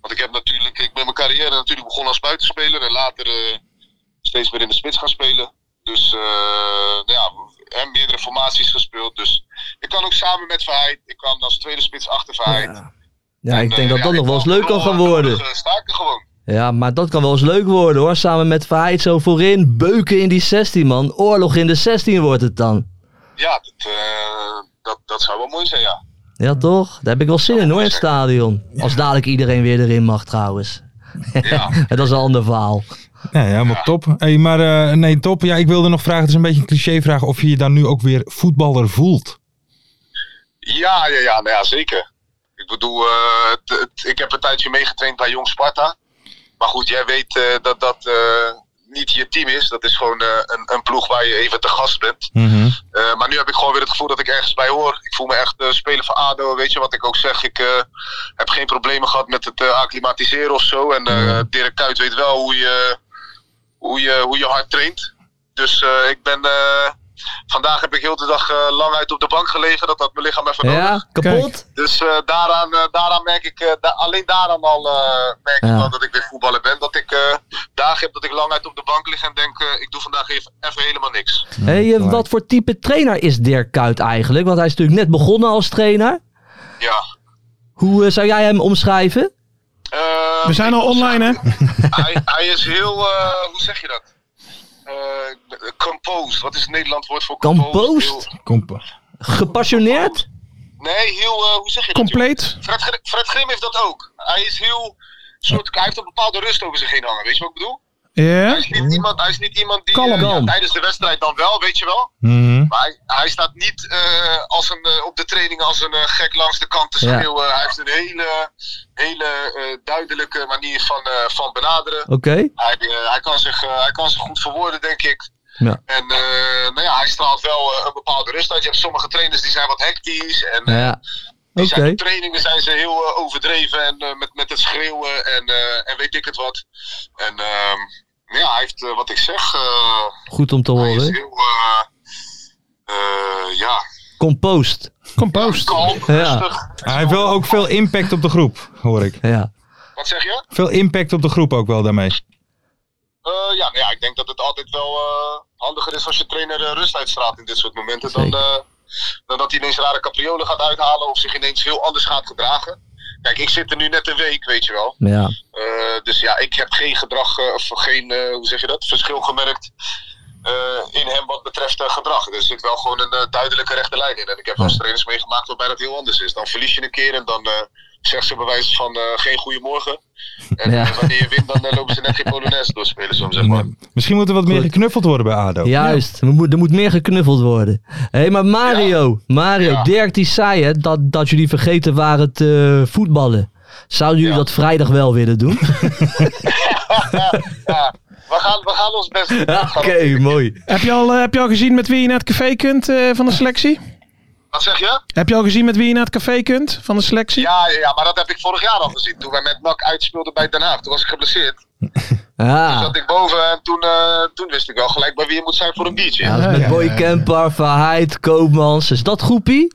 Want ik heb natuurlijk, ik ben mijn carrière natuurlijk begonnen als buitenspeler. En later eh, steeds meer in de spits gaan spelen. Dus eh, nou ja, en meerdere formaties gespeeld. Dus ik kan ook samen met Verheid. Ik kwam als tweede spits achter Verheid.
Ja. Ja, ik
En,
denk
eh,
dat
ja,
dat
ik
nog wel eens
kwam
leuk kan gaan
verloren,
worden.
dus, eh, sta ik er gewoon.
Ja, maar dat kan wel eens leuk worden hoor. Samen met Verheid zo voorin. Beuken in die 16 man. Oorlog in de 16 wordt het dan.
Ja, dat, eh, dat, dat zou wel mooi zijn, ja.
Ja toch? Daar heb ik wel zin in hoor in het stadion. Als dadelijk iedereen weer erin mag trouwens.
Ja.
dat is een ander verhaal.
Ja, ja, helemaal top. Hey, maar eh, nee, top. Ja, ik wilde nog vragen, het is een beetje een cliché vraag, of je je dan nu ook weer voetballer voelt.
Ja, ja, ja, nou ja zeker. Ik bedoel, eh, het- het- ik heb een tijdje meegetraind bij Jong Sparta. Maar goed, jij weet eh, dat dat eh, niet je team is. Dat is gewoon eh, een, een ploeg waar je even te gast bent. Eh, maar nu heb ik gewoon weer het gevoel dat ik ergens bij hoor. Ik voel me echt eh, speler van ADO, weet je wat ik ook zeg. Ik eh, heb geen problemen gehad met het eh, acclimatiseren of zo. En eh, Dirk Kuyt weet wel hoe je, hoe je, hoe je hard traint. Dus eh, ik ben... eh, vandaag heb ik heel de dag eh, lang uit op de bank gelegen. Dat had mijn lichaam even nodig.
Ja, kapot?
Dus eh, daaraan, eh, daaraan merk ik, eh, da- alleen daaraan al eh, merk
Ja.
ik wel dat ik weer voetballer ben. Dat ik eh, dagen heb dat ik lang uit op de bank lig en denk, eh, ik doe vandaag even, even helemaal niks.
Hey, eh, wat voor type trainer is Dirk Kuyt eigenlijk? Want hij is natuurlijk net begonnen als trainer.
Ja.
Hoe eh, zou jij hem omschrijven?
Eh,
We zijn
ik
al
moet
online, hè?
zeggen, Hij, hij is heel, eh, hoe zeg je dat? Eh, composed, wat is het Nederlands woord voor composed?
Composed?
Heel-
Kom.
Gepassioneerd?
nee, heel, eh, hoe zeg je dat? joh?
Compleet.
Fred, Gr- Fred Grim heeft dat ook. Hij is heel, soort, hij heeft een bepaalde rust over zich heen hangen, weet je wat ik bedoel?
Ja.
Hij is niet iemand, hij is niet iemand die
Mhm. Kalm.
eh, ja,
Kalm.
tijdens de wedstrijd dan wel, weet je wel.
Mhm.
Maar hij, hij staat niet eh, als een, eh, op de training als een eh, gek langs de kant te
Ja.
schreeuwen. Hij heeft een hele, hele eh, duidelijke manier van, eh, van benaderen.
Oké.
Hij, eh, hij, kan zich, eh, hij kan zich goed verwoorden, denk ik.
Ja.
En eh, nou ja, hij straalt wel eh, een bepaalde rust uit. Je hebt sommige trainers die zijn wat hectisch. En eh,
Ja.
die
Oké.
zijn, op trainingen zijn ze heel eh, overdreven en eh, met, met het schreeuwen en, eh, en weet ik het wat. En ehm, ja, hij heeft eh, wat ik zeg. eh,
Goed om te
hij is
horen.
heel. eh, eh, ja,
Compost.
Compost.
kalm,
Ja.
rustig.
Hij heeft wel ook veel impact op de groep, hoor ik.
Ja.
Wat zeg je?
Veel impact op de groep ook wel daarmee.
Eh, ja, nou ja, ik denk dat het altijd wel eh, handiger is als je trainer eh, rust uitstraalt in dit soort momenten. Dan,
Zeker.
eh, dan dat hij ineens rare capriolen gaat uithalen of zich ineens heel anders gaat gedragen. Kijk, ik zit er nu net een week, weet je wel.
Ja.
Eh, dus ja, ik heb geen gedrag, eh, of geen, eh, hoe zeg je dat, verschil gemerkt eh, in hem wat betreft eh, gedrag. Er zit wel gewoon een eh, duidelijke rechte lijn in. En ik heb wel eens trainers meegemaakt waarbij dat heel anders is. Dan verlies je een keer en dan eh zegt ze bij wijze van eh, geen goeiemorgen. En
Ja.
eh, wanneer je wint, dan eh, lopen ze net geen polonaise doorspelen, soms zeg maar.
Misschien moet er wat meer geknuffeld worden bij ADO.
Juist, er moet, er moet meer geknuffeld worden. Hé, maar Mario, Mario,
Ja.
Dirk die zei hè, dat, dat jullie vergeten waren te eh, voetballen. Zouden jullie
Ja.
dat vrijdag wel willen doen?
Ja, we gaan, we gaan ons best doen. We gaan ons-
Oké, mooi.
Heb je, al, eh, heb je al gezien met wie je naar het café kunt eh, van de selectie?
Wat zeg je?
Heb je al gezien met wie je naar het café kunt van de selectie?
Ja, ja, ja, maar dat heb ik vorig jaar al gezien. Toen wij met NAC uitspeelden bij Den Haag, toen was ik geblesseerd. Toen
Ja,
zat ik boven en toen, eh, toen wist ik wel gelijk bij wie je moet zijn voor een biertje.
ja dat is met
Ja,
Boy
ja, ja.
Kemper, Verheid, Koopmans. Is dat groepie?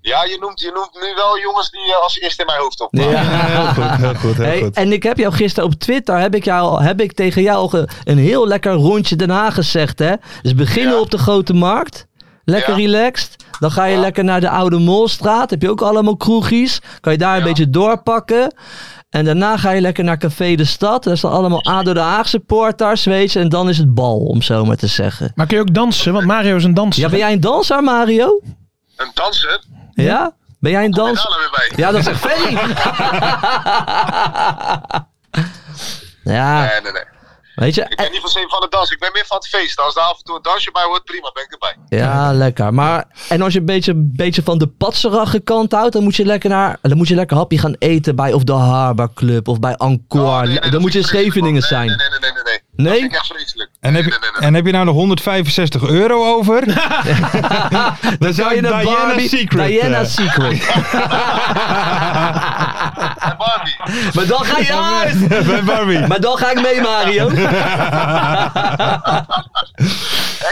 Ja, je noemt, je noemt nu wel jongens die eh, als eerste in mijn hoofd opkomen.
Heel goed, heel goed, heel
Hey,
goed.
en ik heb jou gisteren op Twitter, heb ik, jou, heb ik tegen jou al ge- een heel lekker rondje Den Haag gezegd. Hè? Dus beginnen
Ja.
op de Grote Markt. Lekker
Ja.
relaxed. Dan ga je
Ja.
lekker naar de Oude Molstraat. Heb je ook allemaal kroegjes. Kan je daar een
Ja.
beetje doorpakken. En daarna ga je lekker naar Café de Stad. Daar staan allemaal ADO de Haag supporters, weet je. En dan is het bal, om zo maar te zeggen.
Maar kun je ook dansen? Want Mario is een danser.
Ja, ben jij een danser, Mario?
Een danser?
Ja? Ben jij een
Kom je daar
danser?
nou weer bij?
Ja, dat zegt Ferry. ja,
Nee, nee, nee.
weet je.
Ik ben niet van zin van het dansen. Ik ben meer van het feest. Als er af en toe een dansje bij hoort, prima, ben ik erbij.
Ja, lekker. Maar, en als je een beetje, een beetje van de patserige kant houdt, dan moet je lekker naar, dan moet je lekker hapje gaan eten bij of de Harbor Club of bij Encore.
Oh, nee, nee,
dan
dat
moet je in
vind ik vreselijk,
Scheveningen
man.
zijn.
Nee, nee, nee, nee. nee, nee.
Nee?
Dat vind ik echt vreselijk.
En heb,
nee,
je,
nee, nee, nee.
en heb je nou nog 165 euro over? dan zou je
Diana
Diana Secret.
Diana
eh,
Secret.
En Barbie.
maar dan ga je uit!
bij Barbie.
Maar dan ga ik mee, Mario.
Ik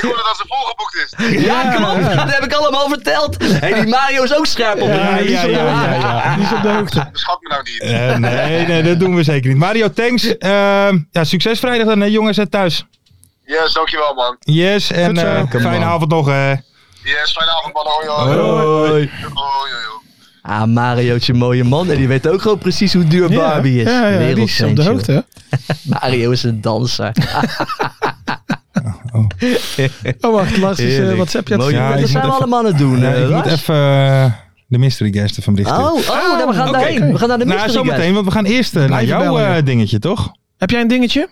hoorde dat ze volgeboekt is.
Ja, klopt. Dat heb ik allemaal verteld. Hé, die Mario is ook scherp op.
Ja, ja, ja, ja, ja.
Die is op de hoogte.
Beschat me nou niet.
Eh, nee, nee, dat doen we zeker niet. Mario, thanks. Ehm, ja, succes vrijdag dan, hè, jongens en thuis.
Yes, dankjewel man.
Yes, en
Goed zo.
eh,
Lekker,
fijne
man.
avond nog. eh.
Yes, fijne avond man. Hoi, hoi.
Hoi.
Hoi, hoi, hoi.
Ah, Mariootje, mooie man. En die weet ook gewoon precies hoe duur Barbie is.
Ja, ja, die is op de
Wereldventje.
hoogte. hè?
Mario is een danser.
oh.
Oh, wacht. Lars is eh,
Heerlijk.
WhatsApp. Ja,
Mooi.
Ja, ik
dat
moet
zijn we
even-
allemaal aan het doen.
Ja,
eh,
ik moet
Lars.
even eh, de mystery guest ervan berichten.
Oh, oh, nou, we gaan daarheen. We gaan naar de
Nou,
mystery guest.
zometeen, want we gaan eerst eh, naar
Blijven
jouw
bellen,
eh,
joh.
dingetje, toch?
Heb jij een dingetje?
Oh,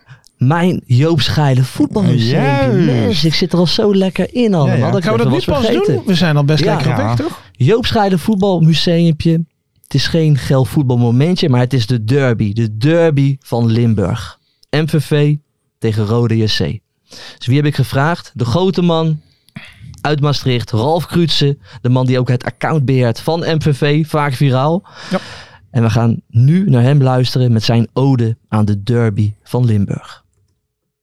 Mijn Joop Schijlen voetbalmuseum.
Juist.
Yes, ik zit er al zo lekker in allemaal.
Ja, ja.
Dat ik
Gaan we dat nu
even was
pas
vergeten.
doen? We zijn al best
Ja.
lekker op
Ja.
weg, toch?
Joop Schijlen voetbalmuseumpje. Het is geen geil voetbalmomentje, maar het is de derby. De derby van Limburg. MVV tegen Rode JC. Dus wie heb ik gevraagd? De grote man uit Maastricht, Ralf Krutse. De man die ook het account beheert van MVV, vaak viraal.
Ja.
En we gaan nu naar hem luisteren met zijn ode aan de derby van Limburg.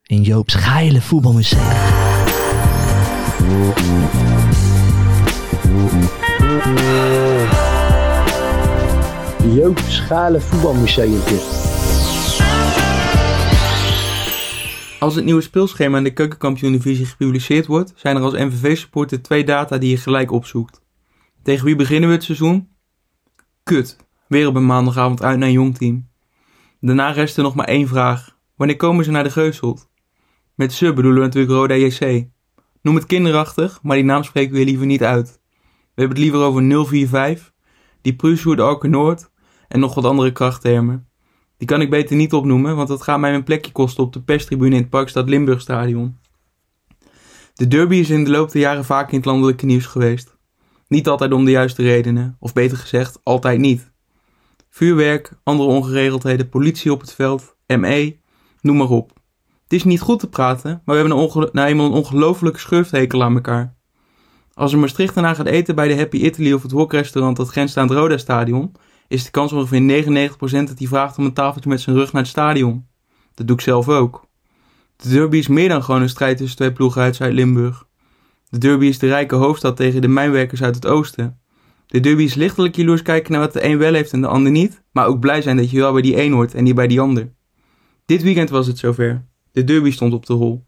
In Joop Schijlen voetbalmuseum.
Joop Schalen Voetbalmuseumpje.
Als het nieuwe speelschema in de Keukenkampioen-divisie gepubliceerd wordt, zijn er als MVV-supporter twee data die je gelijk opzoekt. Tegen wie beginnen we het seizoen? Kut, weer op een maandagavond uit naar een jong team. Daarna rest er nog maar één vraag. Wanneer komen ze naar de Geuselt? Met ze bedoelen we natuurlijk Roda JC. Noem het kinderachtig, maar die naam spreken we hier liever niet uit. We hebben het liever over 045, die Prusoer de Alke Noord en nog wat andere krachttermen. Die kan ik beter niet opnoemen, want dat gaat mij mijn plekje kosten op de perstribune in het Parkstad Limburgstadion. De derby is in de loop der jaren vaak in het landelijke nieuws geweest. Niet altijd om de juiste redenen, of beter gezegd, altijd niet. Vuurwerk, andere ongeregeldheden, politie op het veld, ME, noem maar op. Het is niet goed te praten, maar we hebben een ongel- nou eenmaal een ongelofelijke schurfthekel aan elkaar. Als een Maastrichternaar gaat eten bij de Happy Italy of het hokrestaurant dat grenst aan het Roda Stadion, is de kans ongeveer 99% dat hij vraagt om een tafeltje met zijn rug naar het stadion. Dat doe ik zelf ook. De derby is meer dan gewoon een strijd tussen twee ploegen uit Zuid-Limburg. De derby is de rijke hoofdstad tegen de mijnwerkers uit het oosten. De derby is lichtelijk jaloers kijken naar wat de een wel heeft en de ander niet, maar ook blij zijn dat je wel bij die een hoort en niet bij die ander. Dit weekend was het zover. De derby stond op de rol.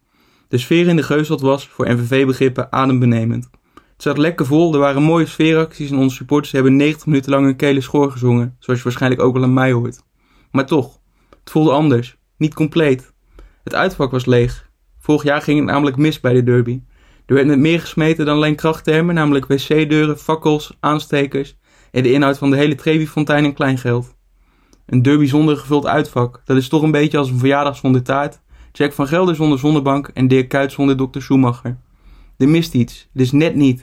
De sfeer in de Geuselt was, voor NVV-begrippen, adembenemend. Het zat lekker vol, er waren mooie sfeeracties en onze supporters hebben 90 minuten lang hun kele schoor gezongen, zoals je waarschijnlijk ook wel aan mij hoort. Maar toch, het voelde anders, niet compleet. Het uitvak was leeg. Vorig jaar ging het namelijk mis bij de derby. Er werd met meer gesmeten dan alleen krachttermen, namelijk wc-deuren, fakkels, aanstekers en de inhoud van de hele Trevi-fontein en kleingeld. Een derby zonder gevuld uitvak, dat is toch een beetje als een verjaardag zonder taart, Jack van Gelder zonder zonnebank en Dirk Kuyt zonder Dr. Schumacher. Er mist iets, dus net niet.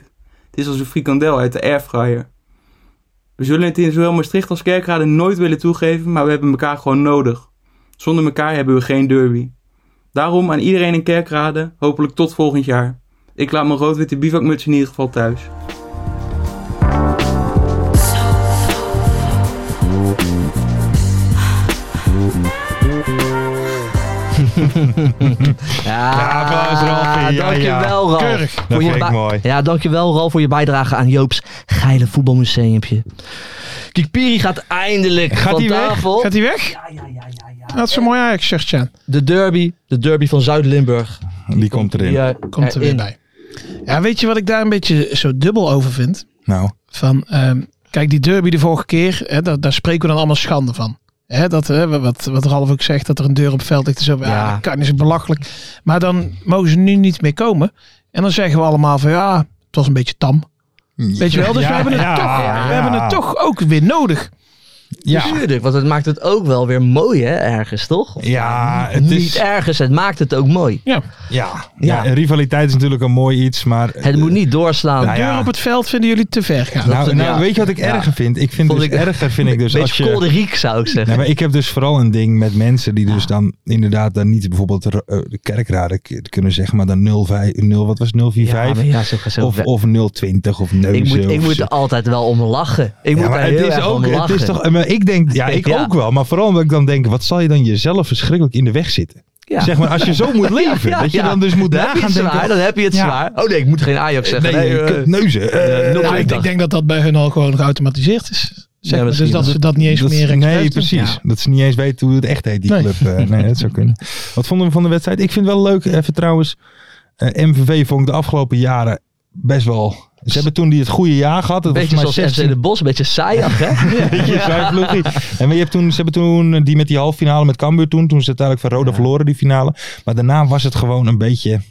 Het is als een frikandel uit de airfryer. We zullen het in zowel Maastricht als Kerkrade nooit willen toegeven, maar we hebben elkaar gewoon nodig. Zonder elkaar hebben we geen derby. Daarom aan iedereen in Kerkrade, hopelijk tot volgend jaar. Ik laat mijn rood-witte bivakmuts in ieder geval thuis.
Ja,
Ah,
applaus, Ralfie. Ja,
dankjewel Ralf.
Keurig.
Voor
Dat
je
vind ik
ba-
mooi.
Ja, dankjewel Ralf voor je bijdrage aan Joop's geile voetbalmuseumpje. Kikpiri gaat eindelijk
Gaat
van
hij weg?
tafel.
Gaat hij weg? Ja, ja, ja. ja, Dat is een mooi Ajax-shirtje aan.
De derby, de derby van Zuid-Limburg.
Die komt erin.
Die, eh,
Komt er weer
erin.
bij. Ja, weet je wat ik daar een beetje zo dubbel over vind?
Nou,
Van, ehm, kijk, die derby de vorige keer, hè, daar, daar spreken we dan allemaal schande van. Hè, dat, hè, wat, wat Ralf ook zegt, dat er een deur op het veld ligt. en Zo, ja.
Ja.
dat kan is belachelijk. Maar dan mogen ze nu niet meer komen. En dan zeggen we allemaal van, ja, het was een beetje tam. Weet je wel, dus
Ja,
we, hebben het
ja,
toch,
ja.
we hebben het toch ook weer nodig.
ja.
Tuurlijk, want het maakt het ook wel weer mooi, hè, ergens, toch?
Ja, het
Niet
is,
ergens, het maakt het ook mooi.
Ja.
ja, ja.
Ja.
rivaliteit is natuurlijk een mooi iets, maar...
Het moet niet doorslaan.
Eh, Nou ja,
Deur op het veld vinden jullie te ver gaan.
dat
Nou,
is-
nou,
ja.
weet je wat ik
Ja.
erger vind? Ik vind
Vond
dus
ik-
erger vind ik dus als
Beetje
je...
kolderiek, zou ik zeggen.
Nee, maar ik heb dus vooral een ding met mensen die dus dan inderdaad dan niet bijvoorbeeld de, eh, de kerkraden k- kunnen zeggen, maar dan 05, 0, wat was het, 045
maar ja, zo, zo,
of, of 020 of neuzen.
ik moet, ik
of
moet
zo.
er altijd wel om lachen. Ik
Ja,
moet
maar
daar
het
heel
is
erg
ook,
om
het
lachen.
is toch, maar ik denk, ja, ik
Ja.
ook wel, maar vooral omdat ik dan denk, wat zal je dan jezelf verschrikkelijk in de weg zitten?
Ja.
Zeg maar, als je zo moet leven,
Ja,
dat je
ja.
dan dus moet
dan heb je
nagaan
het zwaar,
denken,
dan heb je het
Ja.
zwaar. Oh nee, ik moet geen Ajax zeggen.
nee,
Nee, eh,
kutneuzen. eh,
eh,
Nou, ik, denk- ik denk dat dat bij hun al gewoon geautomatiseerd is. Zeg maar,
misschien.
dus dat ze dat niet eens
Dat-
meer expres
nee,
doen.
precies.
Ja.
Dat ze niet eens weten hoe het echt heet, die
Nee.
club. Eh, nee, dat zou kunnen. Wat vonden we van de wedstrijd? Ik vind het wel leuk, even trouwens. eh, MVV vond ik de afgelopen jaren best wel... Ze hebben toen die het goede jaar gehad. Dat
beetje
was
zoals
volgens mij
FC De Bos, een beetje saaiig, hè?
beetje saai ploegie. En maar je hebt toen, ze hebben toen eh, die met die halve finale met Cambuur toen. Toen ze uiteindelijk van Roda verloren, die finale. Maar daarna was het gewoon een beetje...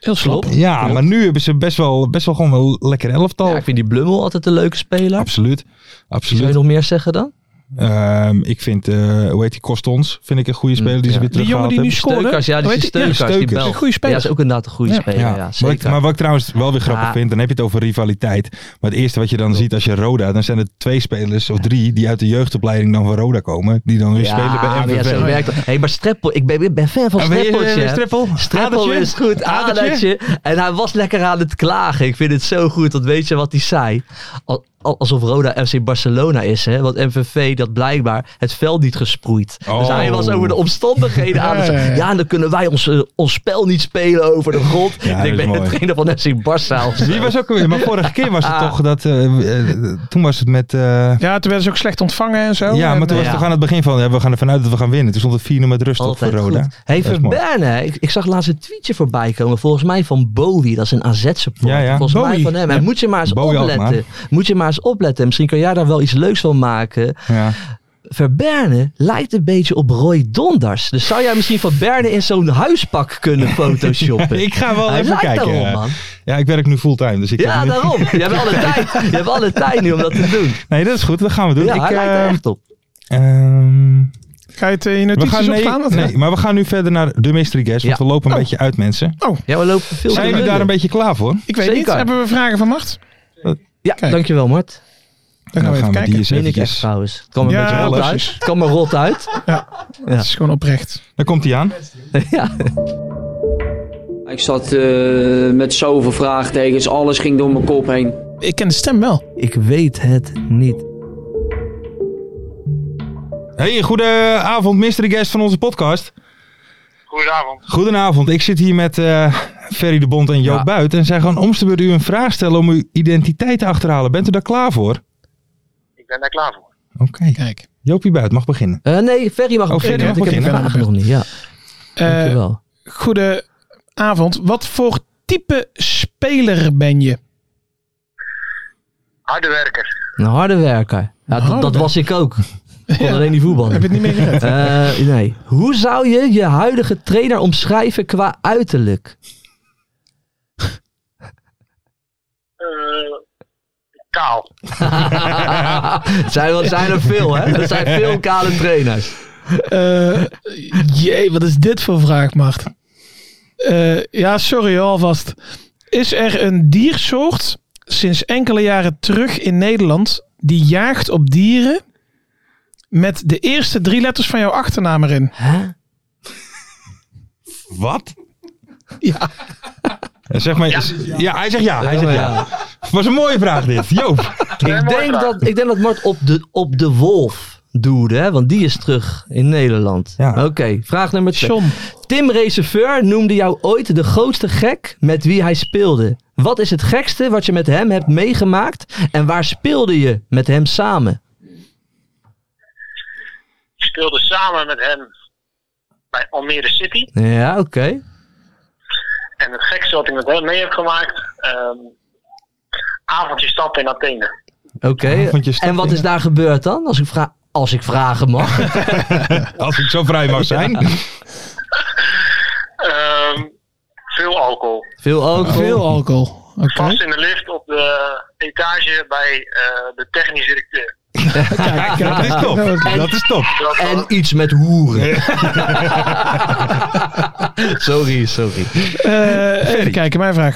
Heel slap.
Ja, maar nu hebben ze best wel, best wel gewoon wel lekker elftal.
Ja, ik vind die Blummel altijd een leuke speler.
Absoluut.
Zou je
Absoluut.
nog meer zeggen dan?
Ehm, ik vind, eh hoe heet die, Kostons? Vind ik een goede speler die ze
ja.
weer
Mm, Die
teruggehaald
jongen die nu
hebben.
scoorde.
Steukers, ja, die
Hoe
is
heet die?
Steukers,
Ja,
die
Steukers.
bel.
Een goede speler.
Ja, is ook inderdaad een goede
Ja.
speler. Ja,
maar,
zeker.
ik- maar wat ik trouwens wel weer grappig
Ja.
vind, dan heb je het over rivaliteit. Maar het eerste wat je dan ziet als je Roda, dan zijn er twee spelers of drie die uit de jeugdopleiding dan van Roda komen. Die dan weer spelen bij
maar
MVV.
ja, zo werkt het. Hey, maar Streppel, ik ben, ik ben fan van
Ah, ben je-
Streppeltje.
eh,
hè.
Streppel?
Streppel
Adertje?
is goed,
Adertje?
adertje. En hij was lekker aan het klagen. Ik vind het zo goed, want weet je wat hij zei? Al- al- alsof Roda FC Barcelona is, hè? Want MVV dat blijkbaar het veld niet gesproeid. Dus
Oh.
hij was over de omstandigheden aan het
Ja, ja, ja.
zeggen. Ja, en dan kunnen wij ons, eh, ons spel niet spelen over de grond.
dat
ik
is
ben
mooi.
de trainer van FC Barça of zo.
Die was ook weer, maar vorige keer was het
Ah.
toch dat, eh, eh, toen was het met, eh,
Ja, toen werden ze ook slecht ontvangen en zo.
ja, maar
En, eh,
toen was
ja.
het toch aan het begin van, ja, we gaan ervan uit dat we gaan winnen. Toen stond het 4-0 met rust op voor
Altijd
Roda.
goed. Hey,
Dat is mooi.
Verberne, hè. ik, ik zag laatst een tweetje voorbij komen. Volgens mij van Bowie, dat is een AZ-support.
Ja, ja.
Volgens mij
Bowie.
van hem. En moet je maar eens
Bowie
opletten.
Alkmaar.
Moet je maar eens opletten. Misschien kan jij daar wel iets leuks van maken.
Ja.
Verberne lijkt een beetje op Roy Donders. Dus zou jij misschien Verberne in zo'n huispak kunnen photoshoppen?
Ik ga wel
Hij
even
lijkt
kijken.
daarop, man.
Ja, ik werk nu fulltime, dus ik
Ja,
heb nu-
daarom. Je hebt alle tijd. Je hebt alle tijd nu om dat te doen.
Nee, dat is goed. Dat gaan we doen.
Ja, hij
ik,
lijkt er
ehm,
echt op.
ehm,
Ga je het eh, in je
we
notities
gaan, nee,
opslaan? of
nee,
niet?
maar we gaan nu verder naar de mystery guest, want
Ja.
we
Oh.
lopen een beetje uit, mensen.
Ja, we lopen veel
Zijn
te
jullie daar
lullen.
een beetje klaar voor?
Ik weet
Zeker.
niet. Hebben we vragen van Mart?
Ja,
Kijk.
dankjewel, Mart.
Nou,
Dan gaan we even kijken.
eens
Meen ik echt
eventjes-
trouwens. Het kwam een
Ja,
beetje rot uit.
precies.
Het kwam er rot uit.
Het is gewoon oprecht.
Daar komt hij aan.
Ja.
Ik zat eh, met zoveel vraagtekens, alles ging door mijn kop heen.
Ik ken de stem wel.
Ik weet het niet.
Hey, goedenavond, mystery guest van onze podcast.
Goedenavond.
Goedenavond, ik zit hier met eh, Ferry de Bond en Joop
Ja.
Buit. En zij gaan om de beurt u een vraag stellen om uw identiteit te achterhalen. Bent u daar klaar voor?
Ik ben daar klaar voor.
Oké.
Kijk.
Joopie Buit mag beginnen.
Eh, nee, Ferry mag
Oh,
beginnen,
Ferry mag
want ik heb de
beginnen.
vraag nog niet. Ja,
Eh
dankjewel.
goedenavond. Wat voor type speler ben je?
Harde werker.
Een harde werker. Ja, dat-
harde
dat was ik ook. Ik kon alleen niet voetballen.
Heb je het niet meer gered?
Eh, nee. Hoe zou je je huidige trainer omschrijven qua uiterlijk?
Eh, kaal.
Het zijn, wel- zijn er veel, hè? Er zijn veel kale trainers.
Eh, jee, wat is dit voor vraag, Mart? Eh, ja, sorry hoor, alvast. Is er een diersoort sinds enkele jaren terug in Nederland die jaagt op dieren met de eerste drie letters van jouw achternaam erin?
Wat?
Ja.
Zeg maar, ja. hij zegt ja. Hij zegt ja. Was een mooie vraag dit. Joop.
Ik denk, dat, ik denk dat Mart op de, op de wolf doelde, hè? Want die is terug in Nederland.
Ja.
Oké, vraag nummer twee.
John.
Tim Reserveur noemde jou ooit de grootste gek met wie hij speelde. Wat is het gekste wat je met hem hebt meegemaakt en waar speelde je met hem samen?
Ik speelde samen met hem bij Almere City.
Ja, oké.
En het gekste laatste wat ik met hem mee heb gemaakt. ehm, avondje stappen in Athene.
Oké. En wat is daar gebeurd dan? Als ik, vra als ik vragen mag.
Als ik zo vrij mag zijn.
Ehm, veel alcohol.
Veel alcohol.
Veel alcohol. Oké.
Vast in de lift op de etage bij eh, de technisch directeur.
Kijk, kijk,
Dat is top.
En-
Dat is top.
Dat was-
En iets met hoeren. sorry, sorry.
Eh, even kijken, mijn vraag.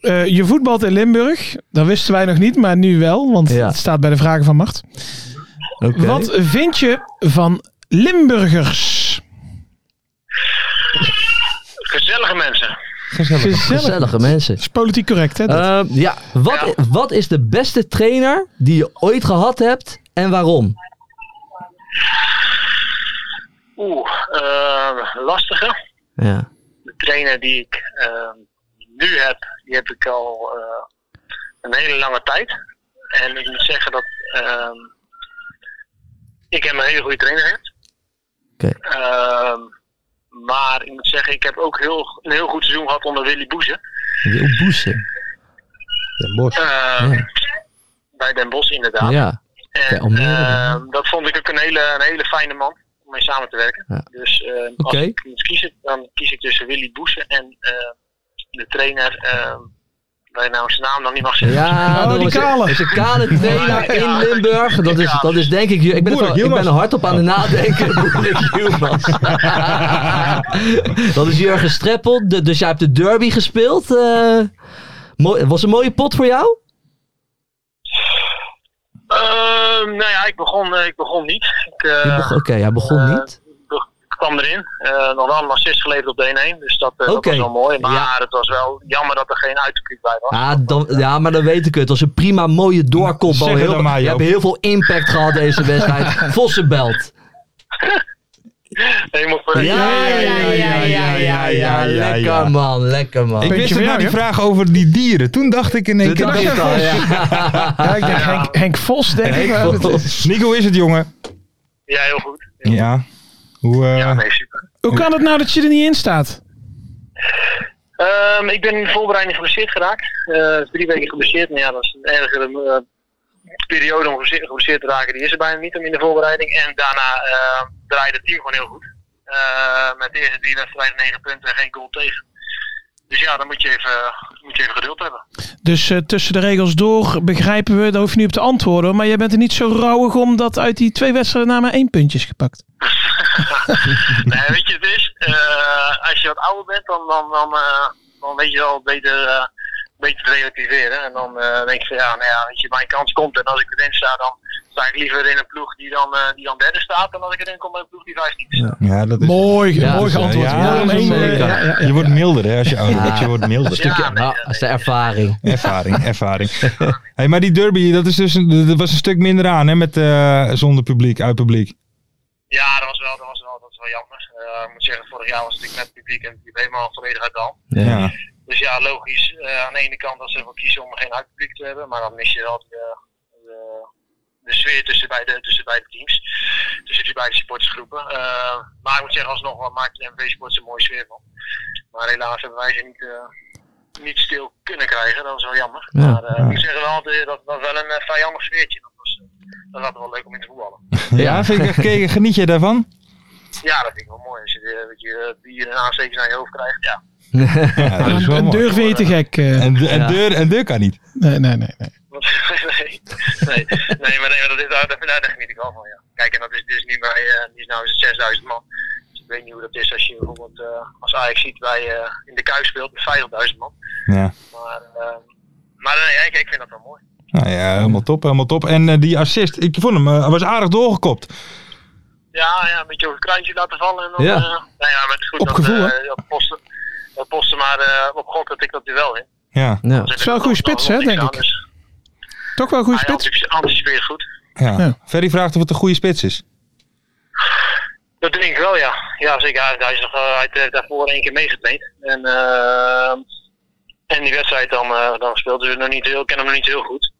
Eh, je voetbalt in Limburg. Dat wisten wij nog niet, maar nu wel. Want
Ja.
het staat bij de vragen van Mart.
Oké.
Wat vind je van Limburgers?
Gezellige mensen.
Gezellige mensen.
is politiek correct, hè? dit?
Ehm, ja, wat, wat is de beste trainer die je ooit gehad hebt en waarom?
Oeh, eh, lastige.
Ja.
De trainer die ik ehm, nu heb, die heb ik al eh, een hele lange tijd. En ik moet zeggen dat ehm, ik hem een hele goede trainer heb.
Oké.
Ehm, maar ik moet zeggen, ik heb ook heel, een heel goed seizoen gehad onder Willy Boeze.
Wil Boesen. Den Bosch.
Ehm,
Ja.
Bij Den Bosch inderdaad.
Ja. Bij
En
Almere,
ehm, Eh, dat vond ik ook een hele, een hele fijne man om mee samen te werken.
Ja.
Dus ehm,
Oké.
als ik moet kiezen, dan kies ik tussen Willy Boesen en ehm, de trainer, ehm waar je nou zijn naam nog niet mag zeggen.
Ja,
Oh,
er
die
is-
kale.
er is een kale trainer in Limburg. Dat is, dat is denk ik... Ik ben, er
Boerik
wel- ik ben
Hielmans.
er hard op aan het nadenken. Boerik Hielmans. dat is Jurgen Streppel. De- Dus jij hebt de derby gespeeld. eh. mooi, was een mooie pot voor jou?
Ehm, nou ja, ik begon, eh, ik begon niet. Ik eh,
Je beg- Oké, hij begon
eh,
niet.
kwam erin. Eh, nog wel een assist geleverd op de 1-1, dus dat, eh,
Oké.
dat was wel mooi. Maar
Ja.
het was wel jammer dat er geen uitpubliek bij was.
Ja, dan, ja, maar dan weet ik het. Het was een prima mooie doorkopbal.
Zeg het
Heel-
dan maar,
Je
Joop.
hebt heel veel impact gehad deze wedstrijd. Vossenbelt.
Helemaal voor
Ja, ja, ja, ja, ja, ja, ja. Lekker man, lekker man.
Ik
Puntje
wist
voor
het
jou,
nou, die
joh.
vraag over die dieren. Toen dacht ik in één
Dit
keer...
dacht
dat-
ik al, ja.
Ja, ik denk
Ah.
Henk, Henk Vos, denk ik. maar dat is-
Nico is het, jongen.
Ja, heel goed.
Ja. Hoe, eh,
Ja, nee, super.
Hoe kan het nou dat je er niet in staat?
Ehm, ik ben in de voorbereiding geblesseerd geraakt. Eh, drie weken geblesseerd. Nou ja, dat is een ergere eh, periode om geblesseerd, geblesseerd te raken. Die is er bijna niet om in de voorbereiding. En daarna eh, draaide het team gewoon heel goed. Eh, met de eerste drie wedstrijden, negen punten en geen goal tegen. Dus ja, dan moet je even, moet je even geduld hebben.
Dus eh, tussen de regels door begrijpen we, daar hoef je niet op te antwoorden. hoor, Maar je bent er niet zo rauwig om dat uit die twee wedstrijden na maar één puntje is gepakt.
nee, weet je, het is. eh, als je wat ouder bent, dan, dan, dan, eh, dan weet je wel beter, eh, beter te relativeren. En dan eh, denk je van ja, nou ja, weet je, mijn kans komt. En als ik erin sta, dan sta ik liever in een ploeg die dan, eh, die dan derde staat. Dan als ik erin kom bij een ploeg die vijftien staat.
ja, dat is...
Mooi,
Ja,
mooi
dus, eh,
geantwoord.
ja,
Ja,
dat
is
nee,
een
nee,
zeker.
ja, ja, ja.
Je wordt milder, hè, als je ouder
Ja.
wordt. Je wordt milder.
Ja, nee,
Nou, dat is de ervaring.
Ervaring, ervaring. Hey, maar die derby, dat, is dus, een- dat was een stuk minder aan, hè, met, eh, zonder publiek, uit publiek.
Ja, dat was wel, dat was wel, dat was wel jammer. Eh, ik moet zeggen, vorig jaar was het natuurlijk met publiek en het liep helemaal volledig uit de hand.
Ja.
Dus ja, logisch. eh, aan de ene kant dat ze ervoor kiezen om geen uitpubliek te hebben, maar dan mis je wel de, de, de sfeer tussen beide, tussen beide teams, tussen die beide supportersgroepen. Eh, maar ik moet zeggen, alsnog wat maakt de MV Sports een mooie sfeer van. Maar helaas hebben wij ze niet, eh, niet stil kunnen krijgen, dat is wel jammer.
Ja,
maar eh, ik moet zeggen, wel, altijd, dat was wel een eh, vijandig sfeertje. Dat was, eh, dat was wel leuk om in te voetballen.
Ja, vind ik echt gekeken. Geniet jij daarvan?
Ja, dat vind ik wel mooi. Als je, eh, dat je eh, bier en aanstekers naar je hoofd krijgt, ja.
Ja, dat is
Een-
wel
Een
mooi.
deur vind je te gek. eh.
En, de- en,
Ja.
deur, en deur kan niet.
Nee, nee, nee. nee.
Want, nee, nee, nee, maar, nee, maar dat is, daar, daar, daar geniet ik wel van, ja. Kijk, en dat is dus nu bij, eh, die is nou eens 6000 man. Dus ik weet niet hoe dat is als je bijvoorbeeld eh, als Ajax ziet bij, eh, in de Kuip speelt met 50.000 man.
Ja.
Maar, eh, maar nee, ik, ik vind dat wel mooi.
Nou ja, helemaal top, helemaal top. En eh, die assist, ik vond hem, eh, hij was aardig doorgekopt.
Ja, ja, een beetje over het kruintje laten vallen. En dan,
Ja.
eh, nou ja, maar het is goed
Op
dat,
gevoel,
eh,
hè?
dat posten. Dat posten maar eh, op God dat ik dat nu wel in.
Ja,
Ja.
Dat
is wel een goede spits, hè, denk ik.
Dus,
Toch wel een goede
hij
spits.
anticipe- anticipeert goed.
ja.
Ja.
Ferry vraagt of het een goede spits is.
Dat denk ik wel, ja. Ja, zeker. Hij, hij is nog, eh, hij heeft daarvoor één keer meegetraind. En, ehm, en die wedstrijd dan, eh, dan speelt. Dus nog niet heel, ik ken hem nog niet heel goed.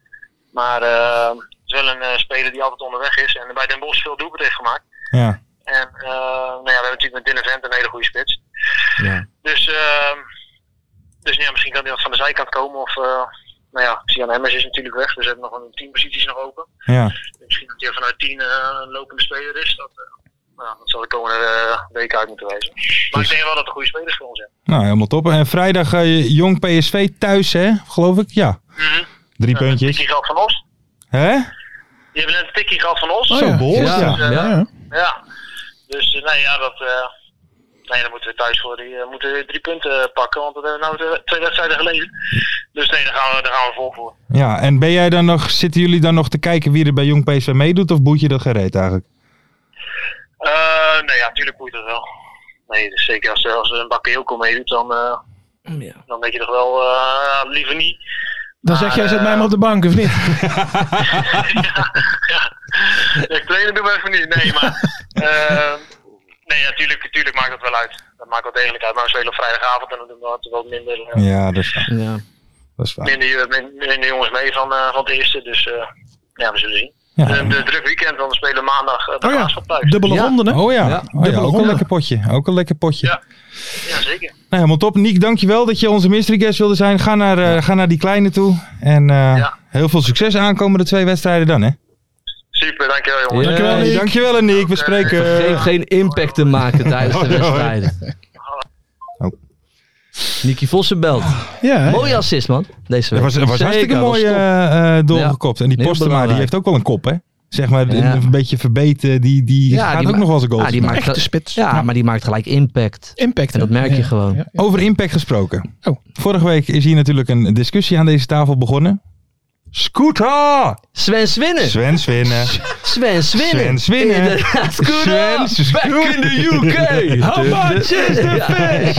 Maar ehm, het is wel een eh, speler die altijd onderweg is. En bij Den Bosch veel doelpunten heeft gemaakt.
Ja.
En eh, nou ja, we hebben natuurlijk met Dylan Vent een hele goede spits.
Ja.
Dus ehm, Dus ja, misschien kan hij wat van de zijkant komen. Of, eh nou ja, Sian Hemmers is natuurlijk weg. Dus we hebben nog een tien posities nog open.
Ja.
Misschien dat hij vanuit tien eh, een lopende speler is. Dat, eh, nou, dat zal de komende eh, weken uit moeten wijzen. Maar ik denk wel dat er goede spelers voor ons zijn.
Nou, helemaal top. En vrijdag eh, jong PSV thuis, hè? Geloof ik? Ja. Drie
Eh, Een
puntjes.
tikkie gehad van ons.
Hè?
Je hebt net een tikkie gehad van ons.
Oh, Zo, ja. behoorlijk, ja.
Dus, eh,
Ja.
ja. Dus eh, nee, ja, dat, eh, nee, dan moeten we thuis voor die, eh, moeten we drie punten pakken. Want dat hebben we nou twee wedstrijden geleden. Dus nee, daar gaan we, daar gaan we vol voor.
Ja, en ben jij dan nog, zitten jullie dan nog te kijken wie er bij jong PSV meedoet? Of boet je dat gereed eigenlijk?
Eh, nee, ja, natuurlijk moet dat wel. Nee, dus zeker als, als er een bakkeelko meedoet, dan, eh, dan denk je toch wel eh, liever niet.
Dan zeg jij, zet mij maar op de bank, of niet?
Ja, ik trainen doen we even niet. Nee, maar. eh, nee, ja, tuurlijk, tuurlijk maakt dat wel uit. Dat maakt wel degelijk uit. Maar we spelen op vrijdagavond en dan doen we altijd wat minder, eh,
Ja, dat is waar.
Ja.
Dat is waar.
minder, eh, min- minder jongens mee van, eh, van het eerste. Dus eh, ja, we zullen zien.
Ja.
Eh, de druk weekend, want we spelen maandag eh, de
Oh ja,
Graafschap thuis.
dubbele ronde, hè?
Oh ja,
Ja,
oh, ja
dubbele
ook een
ronde.
lekker potje. Ook een lekker potje.
Ja, zeker.
Nou, helemaal top. Niek, dankjewel dat je onze mystery guest wilde zijn. Ga naar, eh, ga naar die kleine toe. En eh, heel veel succes aankomende twee wedstrijden dan, hè?
Super, dankjewel jongens.
Dankjewel, Niek. Dankjewel,
Nou,
Niek.
eh,
We spreken.
Vergeet geen impact te maken tijdens de
Hoi, Oh. hoi.
wedstrijden. Nicky Vossen belt.
Ja, hè?
Mooie assist, man.
Dat
Deze week.
was, dat was
Zeker,
hartstikke
was
mooi
top.
eh, eh, doorgekopt. En die
Heel
Postema, die
belangrijk.
heeft ook wel een kop, hè? Zeg maar,
Ja.
een, een beetje verbeten. Die, die
Ja,
gaat
die
ook
ma-
nog wel eens een goal.
ja, die maakt
Echte spits.
Ja, maar die maakt gelijk impact.
Impact,
En dat
hè?
merk je
Ja.
gewoon.
Ja.
Over impact gesproken.
Oh.
Vorige week is hier natuurlijk een discussie aan deze tafel begonnen. Scooter!
Sven Swinnen.
Sven eh. Swinnen.
Sven
Sven
Swinnen.
Swinnen.
Inderdaad, good
Sven
up. Back in the UK.
How much
is the fish?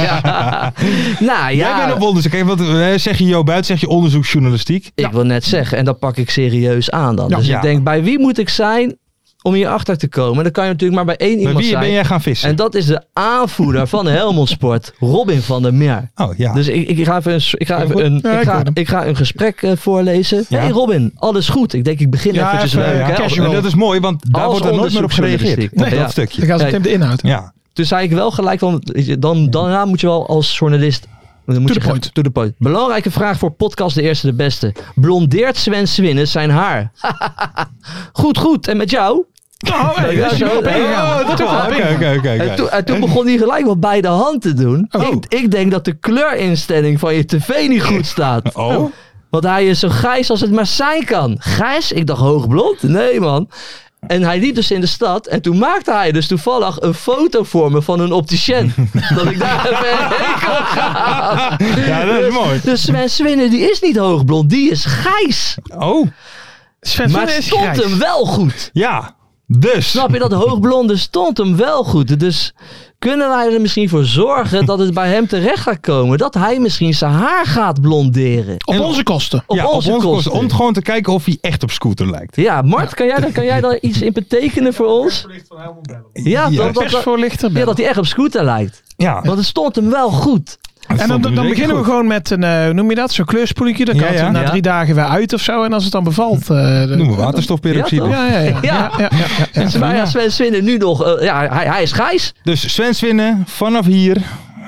Nou ja.
Jij bent op onderzoek. Kijk, wat, eh, zeg je Jo Buit, zeg je onderzoeksjournalistiek.
Ik wil net zeggen, en dat pak ik serieus aan dan.
Ja.
Dus
Ja.
ik denk, bij wie moet ik zijn om hierachter te komen? Dan kan je natuurlijk maar bij één
Bij
iemand
wie
zijn.
ben jij gaan vissen?
En dat is de aanvoerder van Helmond Sport, Robin van der Meer.
oh ja.
Dus ik, ik ga even, een, s- ik ga
Heel
even
goed.
een,
Ja, ik
ik ga,
hoor hem.
ik ga een gesprek eh, voorlezen.
Ja.
hey Robin, alles goed? Ik denk, ik begin
Ja,
eventjes
even,
leuk.
ja,
hè?
casual.
en dat is mooi, want daar
Als
wordt er nooit meer op gereageerd. Op
onderzoeksjournalistiek. Nee,
dat
ja.
Dan
stukje.
gaan ze meteen
Kijk.
op de inhoud.
Ja.
Toen zei ik wel gelijk van, weet je, dan, daarna moet je wel als journalist... Dan moet
To
je
the
gaan-
point.
to the point. Belangrijke vraag voor podcast De Eerste De Beste. Blondeert Sven Swinnes zijn haar? goed, goed. En met jou?
Oh, hey,
Ja,
daar is je
zo-
op ingegaan.
Oh, dat
Toch
wel.
Oké,
wel.
oké, oké,
En, toen-
oké.
en toen begon hij gelijk wat bij de hand te doen.
Oh.
Ik, ik denk dat de kleurinstelling van je tv niet goed staat.
Oh,
Want hij is zo grijs als het maar zijn kan. Grijs? Ik dacht hoogblond. Nee, man. En hij liep dus in de stad. En toen maakte hij dus toevallig een foto voor me van een opticien. dat ik daar even heen kon gaan.
ja, dat is mooi.
Dus Sven Swinnen, die is niet hoogblond. Die is grijs.
Oh,
Sven
maar
Sven
het
is
stond
grijs.
hem wel goed.
ja. Dus.
Snap je dat hoogblonde stond hem wel goed? Dus kunnen wij er misschien voor zorgen dat het bij hem terecht gaat komen? Dat hij misschien zijn haar gaat blonderen.
Op onze kosten.
Op
ja,
onze
op onze kosten.
kosten.
Om gewoon te kijken of hij echt op scooter lijkt.
Ja, Mart, kan jij, daar- kan jij daar iets in betekenen voor ons? Ja,
Ja.
dat, dat, dat,
Persvoorlichter.
ja,
bellen.
dat hij echt op scooter lijkt.
Ja.
Want het stond hem wel goed.
En dan, dan beginnen we gewoon met een, eh, hoe noem je dat, zo'n kleurspoeletje. Dan
Ja,
kan het
ja.
na
Ja.
drie dagen weer uit of zo. En als het dan bevalt... eh, dan-
Noemen we waterstofperoxide.
Ja, toch?
Ja, ja, ja.
Ja.
ja, ja, ja.
En ze waren Sven Swinnen nu nog... eh, ja, hij, hij is grijs.
Dus Sven Swinnen, vanaf hier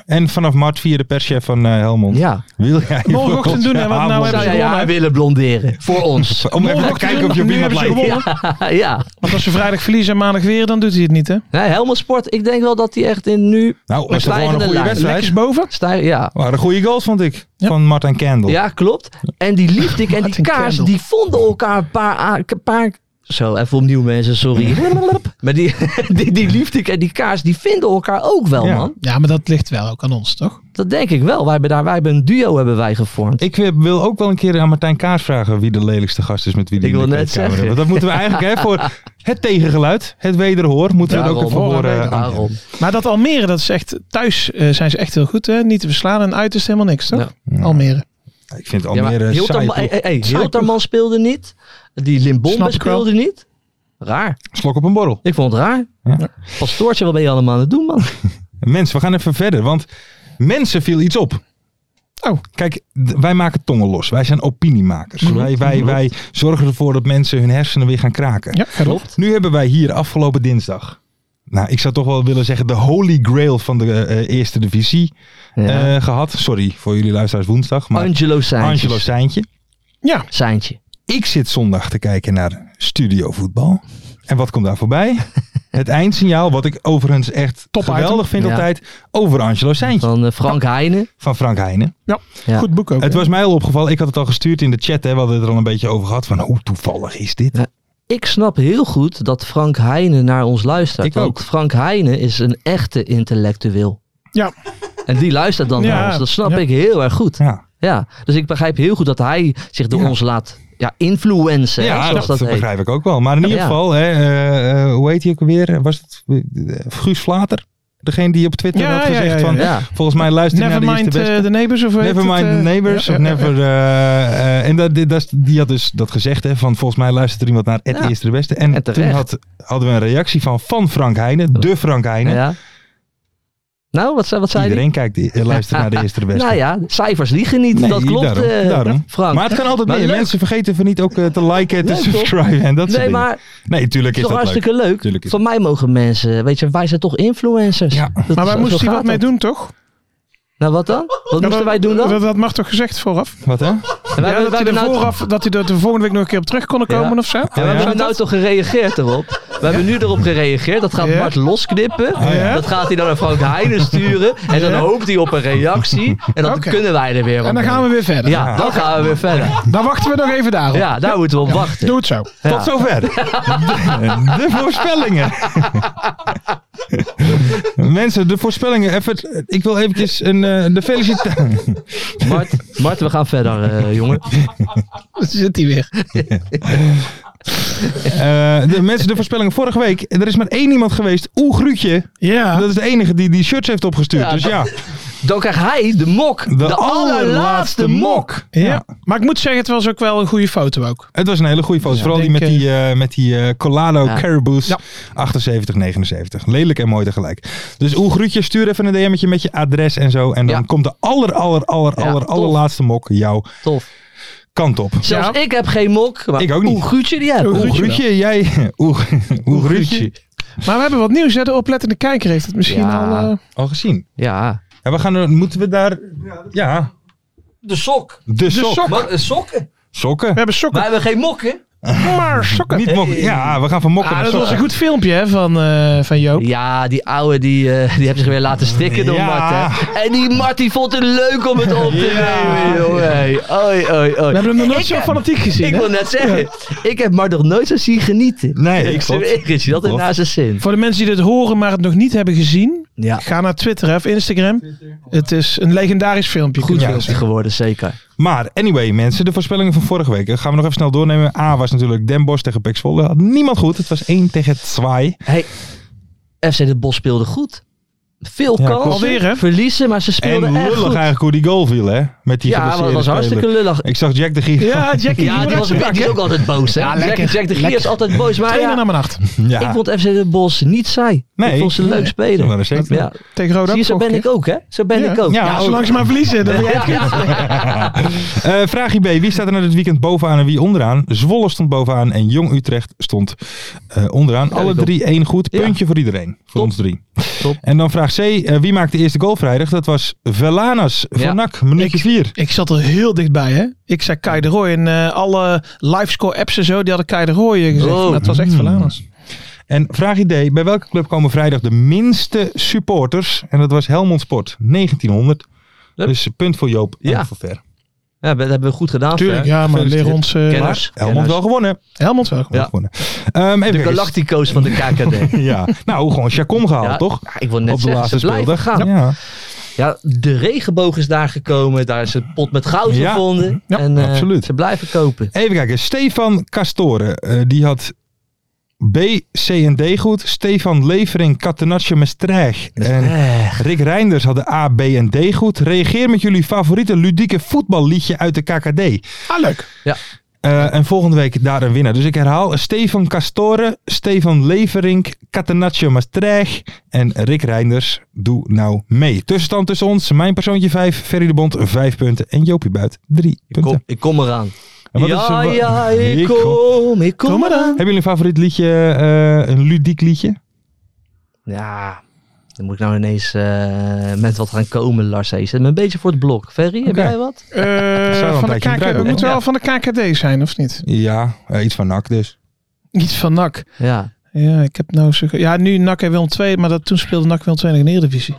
en vanaf Mart via de perschef van eh, Helmond.
Ja.
Wil jij
Morgenochtend doen, hè, want nou
Aanbod.
hebben
Zou
ze
jij je haar
gewonnen,
willen blonderen? Voor ons.
Om even te
Morgenochtend
kijken of je op
doen,
iemand
nu hebben
lijkt.
ze gewonnen.
Ja. ja.
Want als ze vrijdag verliezen en maandag weer, dan doet hij het niet, hè?
Nee, Helmond Sport, ik denk wel dat hij echt in nu...
Nou, was toch gewoon een
stijgende
goede
lijn.
wedstrijd.
Lekkers boven.
Stijg, ja.
Waren goede goals, vond ik. Van Martin Kendall.
ja, klopt. En die liefde en die
Martin
kaars,
Kendall.
die vonden elkaar een paar... a- een paar zo, even opnieuw mensen, sorry. Maar die, die, die liefde en die kaars, die vinden elkaar ook wel,
Ja.
man.
Ja, maar dat ligt wel ook aan ons, toch?
Dat denk ik wel. Wij hebben, daar, wij hebben een duo hebben wij gevormd.
Ik wil- wil ook wel een keer aan Martijn Kaars vragen wie de lelijkste gast is met wie die
Ik
in de
wil net
kleedkamer
zeggen.
hebben. Want dat moeten we eigenlijk hè, voor het tegengeluid, het wederhoor, moeten we dat ook eh, even horen. aan-
Daarom.
Maar dat Almere, dat is echt... Thuis eh, zijn ze echt heel goed, hè? Niet te verslaan en uit is het helemaal niks, toch? Almere.
Ik vind
Ja, maar
Almere ja,
Hilterman- hey, hey, hey, Hilterman speelde niet. Die
Snap
Limbombe
ik wel.
speelde niet. Raar.
Slok op een borrel.
Ik vond het raar.
Ja.
Pastoortje, wat ben je allemaal aan het doen, man?
Mensen, we gaan even verder, want mensen viel iets op.
Oh.
Kijk, d- wij maken tongen los. Wij zijn opiniemakers.
Mhm.
Wij, wij, wij zorgen ervoor dat mensen hun hersenen weer gaan kraken.
Ja, klopt.
Nu hebben wij hier afgelopen dinsdag nou, ik zou toch wel willen zeggen de holy grail van de eh, eerste divisie
Ja.
eh, gehad. Sorry voor jullie luisteraars woensdag. Maar
Angelo Sanchez.
Angelo Seintje.
Ja,
Seintje.
Ik zit zondag te kijken naar Studio Voetbal. En wat komt daar voorbij? Het eindsignaal, wat ik overigens echt
Top item.
geweldig vind
Ja.
altijd, over Angelo Seintje
Van eh, Frank Heijnen.
van Frank Heijnen.
Ja.
Goed boek ook.
Het
hè?
was mij al opgevallen, ik had het al gestuurd in de chat, hè, we hadden het er al een beetje over gehad, van hoe toevallig is dit?
Ja. Ik snap heel goed dat Frank Heijnen naar ons luistert.
Ik
want
ook.
Frank Heijnen is een echte intellectueel.
Ja.
En die luistert dan
Ja,
naar ons. Dat snap
ja.
ik heel erg goed.
Ja,
Ja, dus ik begrijp heel goed dat hij zich door
Ja.
ons laat ja, influencen. hè,
ja
zoals
dat,
dat, heet.
begrijp ik ook wel. Maar in ieder
Ja.
geval, hè, eh, eh, hoe heet hij ook weer? Was het eh, Guus Vlater? Degene die op Twitter
Ja,
had
ja, ja,
gezegd van,
ja.
Ja.
volgens mij luister je naar de eerste
Nevermind
beste.
eh the Neighbors of hoe heet
Never
het,
mind
eh?
the neighbors.
Ja,
of
ja, ja.
never, eh, eh, en dat, dit- dat, is- die had dus dat gezegd. Hè, van volgens mij luistert er iemand naar het
Ja.
eerste de beste. En,
En
toen
terecht.
had, hadden we een reactie van, van Frank Heijnen. De Frank Heijnen.
Ja. Nou, wat, zei- wat zei hij?
Iedereen kijkt, eh, luistert naar de eerste de beste.
Nou ja, cijfers liegen niet.
Nee,
dat klopt,
daarom,
eh,
daarom.
Frank.
Maar het kan altijd
Maar
meer.
leuk.
Mensen vergeten van niet ook eh, te liken, te
Leuk, toch?
subscriben en dat soort
nee,
dingen.
maar
nee, tuurlijk
het is
is dat
toch
leuk.
hartstikke leuk.
Tuurlijk is
Van mij mogen mensen, weet je, wij zijn toch influencers.
Ja.
Dat-
Maar wij
zo
moesten hier
gaat
wat mee
dat.
doen, toch?
Nou, wat dan? Wat
Ja,
moesten wij doen dan?
Dat, dat mag toch gezegd vooraf?
Wat hè?
En wij
Ja, dat,
hebben- wij
hij
hebben
er
nou-
vooraf, dat hij er de volgende week nog een keer op terug kon komen
Ja.
of zo?
Ja, we hebben nou toch gereageerd erop. We hebben nu erop gereageerd. Dat gaat
Ja. Oh,
Bart losknippen.
ja?
Dat gaat hij dan naar Frank Heijnen sturen. En dan hoopt hij op een reactie. En dan
Oké.
kunnen wij er weer op.
En dan gaan we weer verder.
Ja, dan gaan we weer verder.
Dan wachten we nog even daarop.
Ja, daar moeten we op wachten.
Doe het zo.
Tot zover. De, de voorspellingen. Mensen, de voorspellingen. Even, ik wil eventjes een, eh, de felicitatie.
Mart, Mart, we gaan verder, eh, jongen.
Dan zit hij weer.
Eh, de mensen, de voorspellingen vorige week. Er is maar één iemand geweest. Oeh, Gruutje.
Ja.
Dat is de enige die die shirts heeft opgestuurd.
Ja,
dus ja,
Dan krijgt hij de mok. De, allerlaatste mok.
ja. Maar ik moet zeggen, het was ook wel een goede foto ook.
Het was een hele goede foto. Vooral die
denk,
met die, eh, met die eh, Colado
Ja.
Caribous 78, 79. Lelijk en mooi tegelijk. Dus Oeh, Gruutje, stuur even een DM'tje met je adres en zo. En dan
Ja.
komt de aller, aller, aller,
Ja,
aller,
tof.
allerlaatste mok jouw
Tof.
kant op.
Zelfs ik heb geen mok. Maar
Ik ook niet.
Hoe Guutje die
Oeh,
heb.
Oeh,
Gruutje
Gruutje, jij... Oeh, Oeh, Gruutje.
Maar we hebben wat nieuws. Hè? De oplettende kijker heeft het misschien
Ja.
al... eh,
Al gezien.
Ja.
Ja, we gaan, er- moeten we daar... Ja,
De sok.
de
de
sok.
sok.
Maar, eh, sokken?
Sokken.
We hebben
Wij
sokken.
hebben geen mokken.
Maar sokken.
Niet mokken. Ja, we gaan van mokken
Ah,
naar
dat was
sokken.
een goed filmpje hè, van, eh van Joop.
Ja, die ouwe die, eh, die heeft zich weer laten stikken door
Ja.
Mart. Hè? En die Mart die vond het leuk om het op te nemen, jongen. Hey, Oi, oi,
We
oi.
hebben hem nog nooit
Ik
zo
heb-
fanatiek gezien.
Ik
hè?
wil net zeggen, ik heb Mart nog nooit zo zien genieten.
Nee,
ik
klopt.
zweer het je, dat is
Klopt.
naast zijn zin.
Voor de mensen die dit horen, maar het nog niet hebben gezien,
Ja,
ga naar Twitter hè, of Instagram. Het is een legendarisch filmpje.
goed
Ja.
filmpje geworden, zeker.
Maar anyway, mensen, de voorspellingen van vorige week. eh, Gaan we nog even snel doornemen. A was natuurlijk Den Bosch tegen Pek Zwolle. Had niemand goed. Het was 1 tegen 2.
Hey, FC De Bos speelde goed. Veel
Ja,
kansen,
klopt.
Alweer, hè?
verliezen, maar ze
En
speelden echt
lullig
goed.
eigenlijk hoe die goal viel, hè? Met die
Ja, maar dat
geblesseerde
was hartstikke
speler.
lullig.
Ik zag Jack de Gier.
Ja, Jackie,
Ja, die, was, die is ook altijd boos. Hè?
Ja,
Jack-
lekker.
Jack de Gier is
Lekker.
altijd boos. Maar
Trainer
ja,
naar mijn nacht.
Ja.
Ik vond FC De Bos niet saai.
Nee.
ik vond ze leuk
Nee.
spelen.
Ja, dat is zeker.
ja.
Tegen Roda.
Zie je, zo
vorige
ben
keer.
ik ook, hè? Zo ben
Ja.
ik ook.
Ja,
Ja,
ook.
zolang ze maar verliezen. Dan ben jij het kind.
Eh, vraagje B. Wie staat er na dit weekend bovenaan en wie onderaan? Zwolle stond bovenaan en Jong Utrecht stond eh, onderaan. Alle
klopt.
drie één goed.
Ja.
Puntje voor iedereen. Voor
Top.
ons drie.
Top.
En dan vraag C. eh, wie maakte de eerste goal vrijdag? Dat was Velanas van
Ja.
NAC. Minuutje
Ik-
4.
Ik zat er heel dichtbij, hè? Ik zei Kai de Roy en eh, alle livescore apps en zo, die hadden Kai de Roy eh, gezegd.
Oh.
Maar het was echt Valanus.
En vraag idee, bij welke club komen vrijdag de minste supporters? En dat was Helmond Sport, 1900.
Hup.
Dus punt voor Joop
Ja.
en voor Ver.
Ja, dat hebben we goed gedaan.
Tuurlijk,
Fer.
ja, maar leer ons. eh,
Kenners.
Helmond wel gewonnen.
Helmond wel.
dus- Ja.
gewonnen. Ehm, even
De
kijken.
Galactico's van de KKD.
Ja, nou gewoon Chacon gehaald,
Ja,
toch?
ja, ik wil net
Op de
zeggen,
laatste
ze blijven
speeldag.
gaan.
Ja,
Ja, de regenboog is daar gekomen. Daar is een pot met goud
Ja.
gevonden.
Ja,
en eh,
absoluut.
ze blijven kopen.
Even kijken, Stefan Castoren, eh, die had B, C en D goed. Stefan Levering, Catenaccio Maastricht en
Eh,
Rick Reinders hadden A, B en D goed. Reageer met jullie favoriete ludieke voetballiedje uit de KKD.
Ah, leuk.
Eh, en volgende week daar een winnaar. Dus ik herhaal: Stefan Castore, Stefan Leverink, Catenaccio Maastricht en Rick Reinders. Doe nou mee. Tussenstand tussen ons: mijn persoontje 5, Ferry de Bond 5 punten en Jopie Buit 3
ik,
punten.
kom, ik kom eraan.
En wat is
ja,
er-
ja, ik
kom.
kom, ik kom
Kom maar
eraan.
dan.
Hebben jullie een favoriet liedje, eh, een ludiek liedje?
Ja, dan moet ik nou ineens eh, met wat gaan komen, Lars. Hey, zet me een beetje voor het blok. Ferry, heb
Oké.
jij wat?
wel een
Eh, van de
tijdje
KK,
gebruiken,
het moet
hè?
wel van de KKD zijn, of niet?
Ja, eh, iets van NAC dus.
Iets van NAC.
Ja.
Ja, ik heb nou zo... Ja, nu NAC en Willem 2, maar dat, toen speelde NAC Willem 2 in de Eredivisie.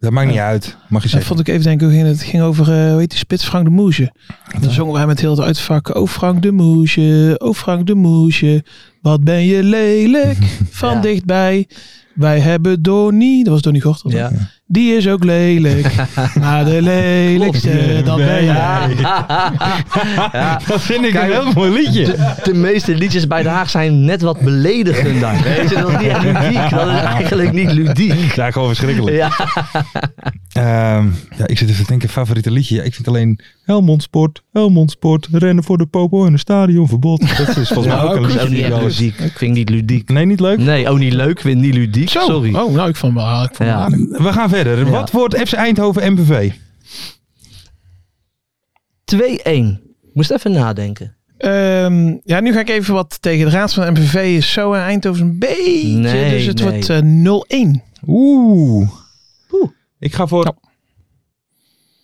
Dat maakt niet uit, mag je
Dat
zeggen.
vond ik even denken, hoe ging het Het ging over, eh, hoe heet die spits, Frank de Moesje. En dan zongen wij met heel het uitvak, oh Frank de Moesje, oh Frank de Moesje, wat ben je lelijk van
Ja.
dichtbij. Wij hebben Donnie, dat was Donnie Gortel,
Ja.
die is ook lelijk, maar de
eh,
lelijkste,
eh,
dat ben jij.
ja.
Dat vind ik
Kijk,
een heel mooi liedje.
De, de meeste liedjes bij Den Haag zijn net wat beledigender. Weet je, dat is niet echt ludiek. Dat is eigenlijk niet ludiek.
Ja, gewoon verschrikkelijk.
Ja.
Ehm, ja, ik zit even te denken, favoriete liedje. Ja, ik vind alleen Helmond Sport, Helmond Sport, rennen voor de popo en een stadionverbod. Dat is volgens mij ook een
Dat is
liedje
ook niet
die
echt
wel eens-
ludiek. Ik vind niet ludiek.
Nee, niet leuk?
Nee, oh niet leuk. Ik vind niet ludiek.
Zo,
Sorry.
oh nou, ik vond wel, ik vond wel
Ja.
aardig.
We gaan verder.
Ja.
Wat wordt FC Eindhoven MVV?
2-1. Moest even nadenken.
Ehm, ja, nu ga ik even wat tegen de raad van de MVV is zo en Eindhoven een beetje.
Nee,
dus het
nee.
wordt eh, 0-1.
Oeh.
Oeh.
Ik ga voor...
Nou.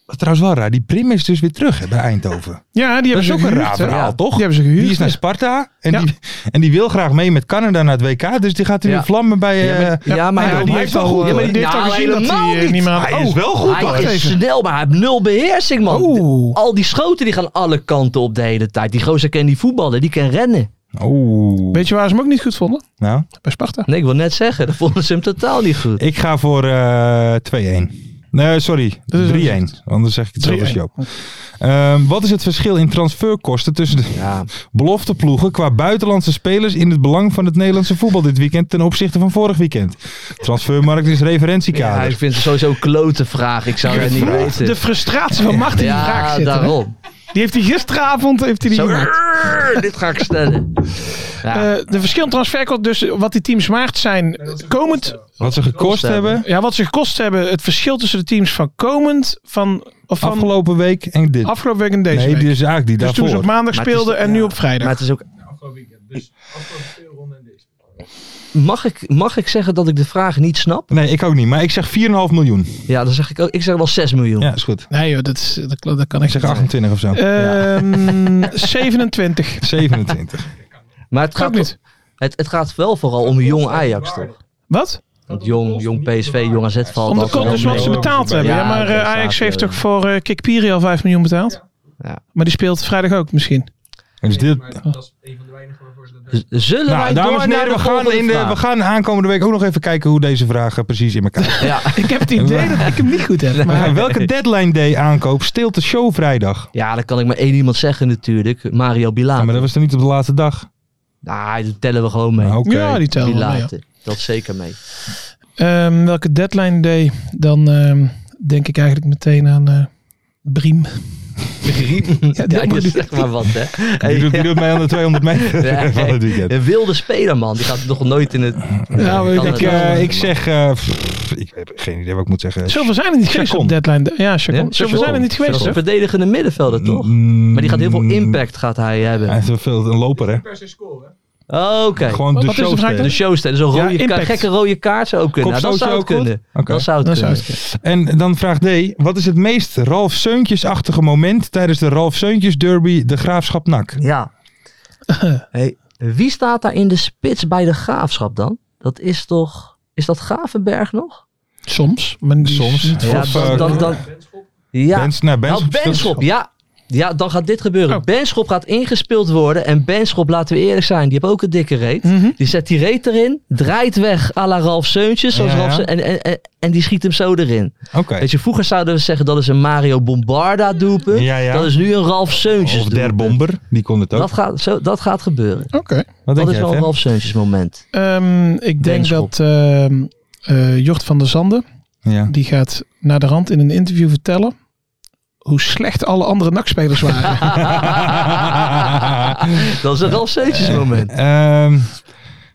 Wat trouwens wel raar, die Prim is dus weer terug hè, bij Eindhoven.
Ja, die
Dat
hebben
is
ze
ook een
gehuurd,
raar
hè?
verhaal,
Ja.
toch?
Die hebben ze gehuurd.
Die is naar
ja.
Sparta en,
Ja.
die, en die wil graag mee met Canada naar het WK. Dus die gaat weer
Ja.
vlammen bij... eh,
Ja, maar
hij-
hij,
die
die
hij
heeft
is wel goed,
al,
hoor.
ja, maar die heeft
Nou,
al gezien dat
helemaal
hij eh,
niet.
niet meer aan
Oh. Hij is wel goed hoor.
Oh, hij is snel, maar hij heeft nul beheersing, man.
Oeh.
Al die schoten die gaan alle kanten op de hele tijd. Die gozer kan die voetballen, die kan rennen.
Oeh.
Weet je waar ze hem ook niet goed vonden?
Nou,
Bij Sparta.
Nee, ik wil net zeggen, dat vonden ze hem totaal niet goed.
ik ga voor eh 2-1. Nee, sorry.
Dat is
3-1. Anders zeg ik hetzelfde als
3-1.
Joop. Ehm, wat is het verschil in transferkosten tussen de
Ja,
belofteploegen qua buitenlandse spelers in het belang van het Nederlandse voetbal dit weekend ten opzichte van vorig weekend? Transfermarkt is
ja ik
referentiekader.
vind het sowieso een klote vraag. Ik zou het niet weten.
De frustratie van Martin die vraag
ja,
zitten. hè?
daarom.
Die heeft hij gisteravond heeft hij die
Zo,
gemaakt.
"Arr, dit ga ik stellen. Ja,
Eh, de verschillende transferkort, dus wat die teams waard zijn komend.
Wat ze gekost
Kosten
hebben
Ja, wat ze gekost hebben. Het verschil tussen de teams van komend, van, of van afgelopen,
afgelopen week en dit.
week en deze
Nee,
week.
die is eigenlijk die
Dus toen ze op
daarvoor.
maandag
Maar het is-
speelden en nu
ja.
op vrijdag.
maar het is ook... Mag ik, mag ik zeggen dat ik de vraag niet snap?
Nee, ik ook niet. Maar ik zeg 4,5 miljoen.
Ja, dan zeg ik ook. Ik zeg wel 6 miljoen.
Ja, is goed.
Nee joh, dat, is, dat, kl- dat kan
Ik
ik
zeg
niet.
28 of zo.
Ehm, 27.
27.
maar het gaat,
Ook niet.
Het, het gaat wel vooral om jong Ajax, toch?
Wat?
Want jong, jong PSV, jong AZ valt
Om de
altijd wel
kont dus wat
mee.
ze betaald hebben. Ja,
Ja,
maar
oké,
eh,
staat,
Ajax heeft
eh,
toch voor eh Kikpiri al 5 miljoen betaald?
Ja.
Maar die speelt vrijdag ook misschien.
Dus dit,
Z- Zullen wij
nou, dames
door
en
naar
heren,
de
we gaan,
volgende
in de, we
vraag?
gaan aankomende week ook nog even kijken hoe deze vraag eh, precies in elkaar zit.
Ja,
Ik heb het idee dat ik hem niet goed heb.
We
Maar
gaan welke deadline day aankoop steelt de show vrijdag?
ja, dan kan ik maar één iemand zeggen natuurlijk. Mario
Ja,
Bilater.
maar dat was dan niet op de laatste dag.
Nou, dat tellen we gewoon mee.
Nou, Oké.
ja, die tellen wel mee, ja.
Bilater. Dat zeker mee.
Ehm, welke deadline day? Dan ehm, denk ik eigenlijk meteen aan eh Briem.
Ja,
dat moet
je
ik.
zegt maar wat, hè. Hey,
Die doet, die doet mij aan de 200 meter
Ja.
van het weekend.
Een wilde speler, man. Die gaat nog nooit in het...
Ja,
kan
Ik,
het
eh,
wel, man.
ik zeg... eh, pff, ik heb geen idee wat ik moet zeggen.
Zoveel zijn er niet geweest
Chacon.
op deadline day. Ja, Chacon.
Ja,
Zoveel zijn er niet
Dat
geweest,
is
hè?
een verdedigende middenvelder, toch?
Mm,
Maar die gaat heel veel impact gaat hij
Hij
hebben.
heeft wel veel een loper, hè?
Oké.
Gewoon de
Wat is de
show
vraag
stelen.
De showster, zo'n
Ja,
rode ka-
impact.
gekke rode kaart zou ook kunnen. Nou, dat
Kopstootje ook
zou het
goed?
kunnen.
Oké.
Dat zou het
Dat Nou, zou
kunnen.
het kunnen.
Dus, En dan vraag D. Wat is het meest Ralf Seuntjes-achtige moment tijdens de Ralf Seuntjes derby de Graafschap NAC?
Ja. Hey, wie staat daar in de spits bij de graafschap dan? Dat is toch. Is dat Gravenberg nog?
Soms. Maar die is
Soms.
niet-
Ja, Of, eh,
ja.
Bens naar Benschop.
Nou, Benschop, ja. Ja, dan gaat dit gebeuren.
Oh.
Benschop gaat ingespeeld worden. En Benschop, laten we eerlijk zijn, die heeft ook een dikke reet.
Hm.
Mhm.
Die zet die reet erin, draait weg à la Ralf Seuntjes. Zoals
Ja,
Ralf
ja.
Seu- en, en, en, en die schiet hem zo erin.
Oké.
Weet je, vroeger zouden we zeggen dat is een Mario Bombarda doelpunt.
Ja, ja.
Dat is nu een Ralf Seuntjes
Of Der Bomber, die kon het ook.
Dat gaat, zo, dat gaat gebeuren.
Oké.
Wat
Dat
denk
is
jij,
wel een
Fer?
Ralf Seuntjes moment.
Ehm, ik denk
Benschop.
dat ehm eh, Jort van der Zanden,
Ja.
die gaat naar de rand in een interview vertellen hoe slecht alle andere nakspelers waren.
dat is een Ralf Seuntjes moment.
Ehm,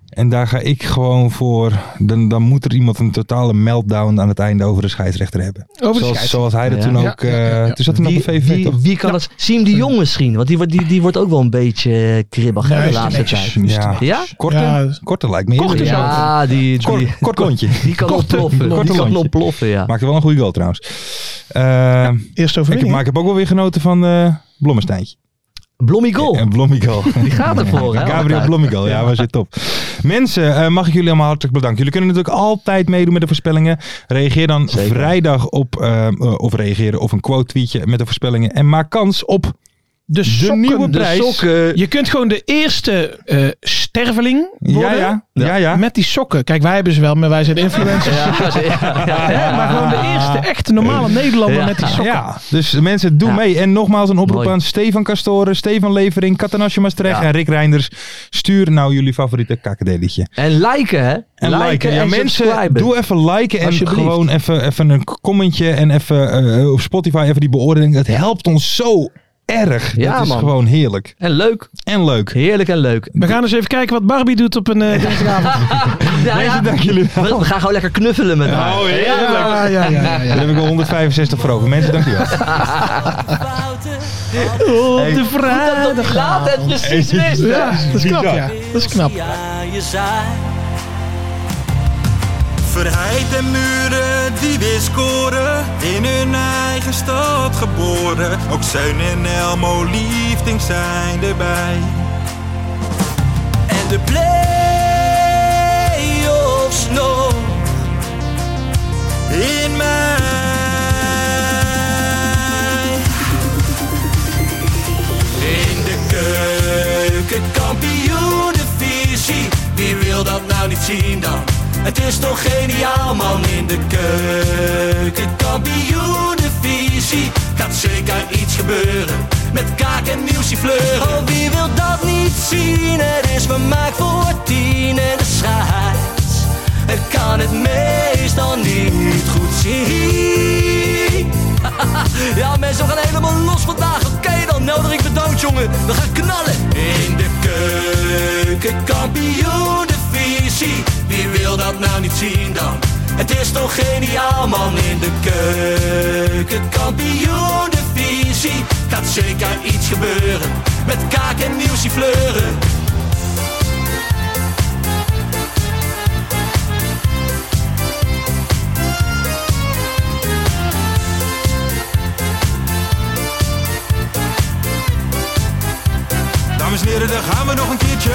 En daar ga ik gewoon voor. Dan, dan moet er iemand een totale meltdown aan het einde over de scheidsrechter hebben.
de
zoals,
scheids.
zoals hij dat
Ja.
toen
Ja,
ook. eh
ja, ja, ja.
Toen zat hij nog
Wie,
op VVV.
wie,
toch?
wie kan dat? Siem de Jong misschien, want die, wordt- die, die wordt ook wel een beetje eh, kribbig hè,
Nee,
de
is te
laatste
netjes.
tijd.
Ja.
Ja?
Korte,
Ja.
Ah, korte lijkt me.
Korte
eerder.
zou-
Ja, die, Dus die,
Kort, kort lontje.
die kan
Korte-
ontploffen.
korte
die kan
lontje.
ontploffen, ja.
Maakte wel een goede goal trouwens. Eh,
Eerst
ik,
overwinning.
maar ik heb ook wel weer genoten van eh Blommesteintje.
Blommy goal.
En Blommigol.
Die gaat ervoor, hè,
Gabriel
altijd.
Blommigol, ja, was het top. Mensen, eh, mag ik jullie allemaal hartelijk bedanken. Jullie kunnen natuurlijk altijd meedoen met de voorspellingen. Reageer dan
Zeker.
vrijdag op, eh, eh, of reageren, of een quote tweetje met de voorspellingen. En maak kans op
de sokken.
nieuwe
De
prijs.
eh,
sokken. Je kunt gewoon de eerste eh, sterveling worden.
Ja, ja, ja, ja.
Met die sokken. Kijk, wij hebben ze wel, maar wij zijn de influencers.
Ja, ja, ja.
Hè? Maar gewoon de eerste echte normale Nederlander
Ja.
met die sokken.
Ja, dus mensen, doe
Ja.
mee. En nogmaals een oproep
Mooi.
aan Stefan Castoren, Stefan Levering, Katanasje Maastricht
Ja.
en Rick Reinders. Stuur nou jullie favoriete kakadelietje.
En liken, hè?
En liken. Ja, mensen,
subscriben.
doe even liken en
Alsjeblieft.
gewoon even, even een commentje en even eh, op Spotify even die beoordeling. Dat helpt ons zo erg.
Ja,
dat is
man.
gewoon heerlijk.
En leuk.
En leuk.
Heerlijk en leuk.
We gaan eens even kijken wat Barbie doet op een eh, dinsdagavond.
Ja, ja.
Dank jullie wel.
We, we gaan gewoon lekker knuffelen met
Oh,
haar.
ja, ja, ja, ja.
Daar heb ik al 165 voor over. Mensen, dankjewel.
Op de
Dat die
vrijdag.
laat het precies wist.
Ja, dat is knap, ja. Dat is knap.
Ja, je zei.
Verheid en muren die weer scoren, in hun eigen stad geboren. Ook Zijn en Elmo liefding zijn erbij.
En de play-offs nog.
In mij.
In de keuken, kampioenenvisie. Wie wil dat nou niet zien dan? Het is toch geniaal man in de keuken, kampioenenvisie. Gaat zeker iets gebeuren met kaak en nieuwsje fleuren. Oh, wie wil dat niet zien? Het is vermaakt voor tien en de scheids. Het kan het meestal niet goed zien. Ja, mensen, we gaan helemaal los vandaag. Oké dan, Nelderik bedankt, jongen. We gaan knallen. In de keuken, kampioen de visie. Wie wil dat nou niet zien dan? Het is toch geniaal, man. In de keuken, kampioen de visie. Gaat zeker iets gebeuren. Met kaak en nieuwsie fleuren.
Dames en heren, daar gaan we nog een keertje.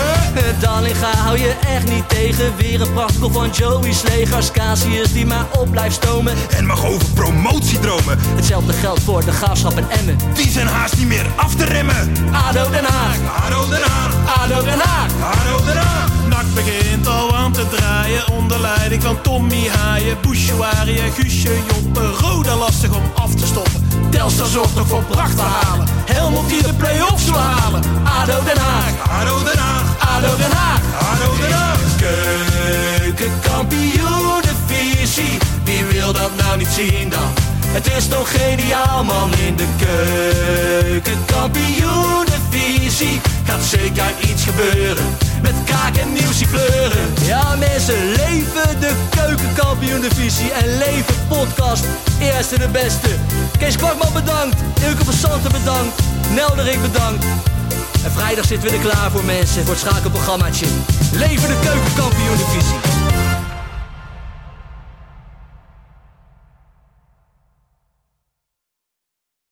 Dallinga hou je echt niet tegen. Weer een prachtkel van Joey's legers. Casius die maar op blijft stomen.
En mag over promotiedromen,
Hetzelfde geldt voor de graafschap en Emmen.
die zijn haast niet meer af te remmen.
ADO Den Haag,
Haro eraan,
ADO Den Haag.
haro eraan.
Nak begint al aan te draaien onder leiding van Tommy Haaien, Bouchouari en Guusje Joppen. Roda lastig om af te stoppen. Telstar zorgt nog voor pracht te halen. Helmond die de play-offs wil halen.
ADO Den Haag,
Haro Den Haag,
ADO Den Haag.
Haro Den Haag.
Keukenkampioenenvisie, wie wil dat nou niet zien dan? Het is toch geniaal man in de keukenkampioenenvisie. Gaat zeker iets gebeuren, met kaak en nieuwsie fleuren. Ja mensen, leven de keukenkampioenenvisie en leven podcast. Eerste de beste. Kees Kwakman bedankt, Ilke van Santen bedankt, Nelderik bedankt. En vrijdag zitten we er klaar voor mensen, voor het schakelprogrammaatje. Leven de keukenkampioen divisie.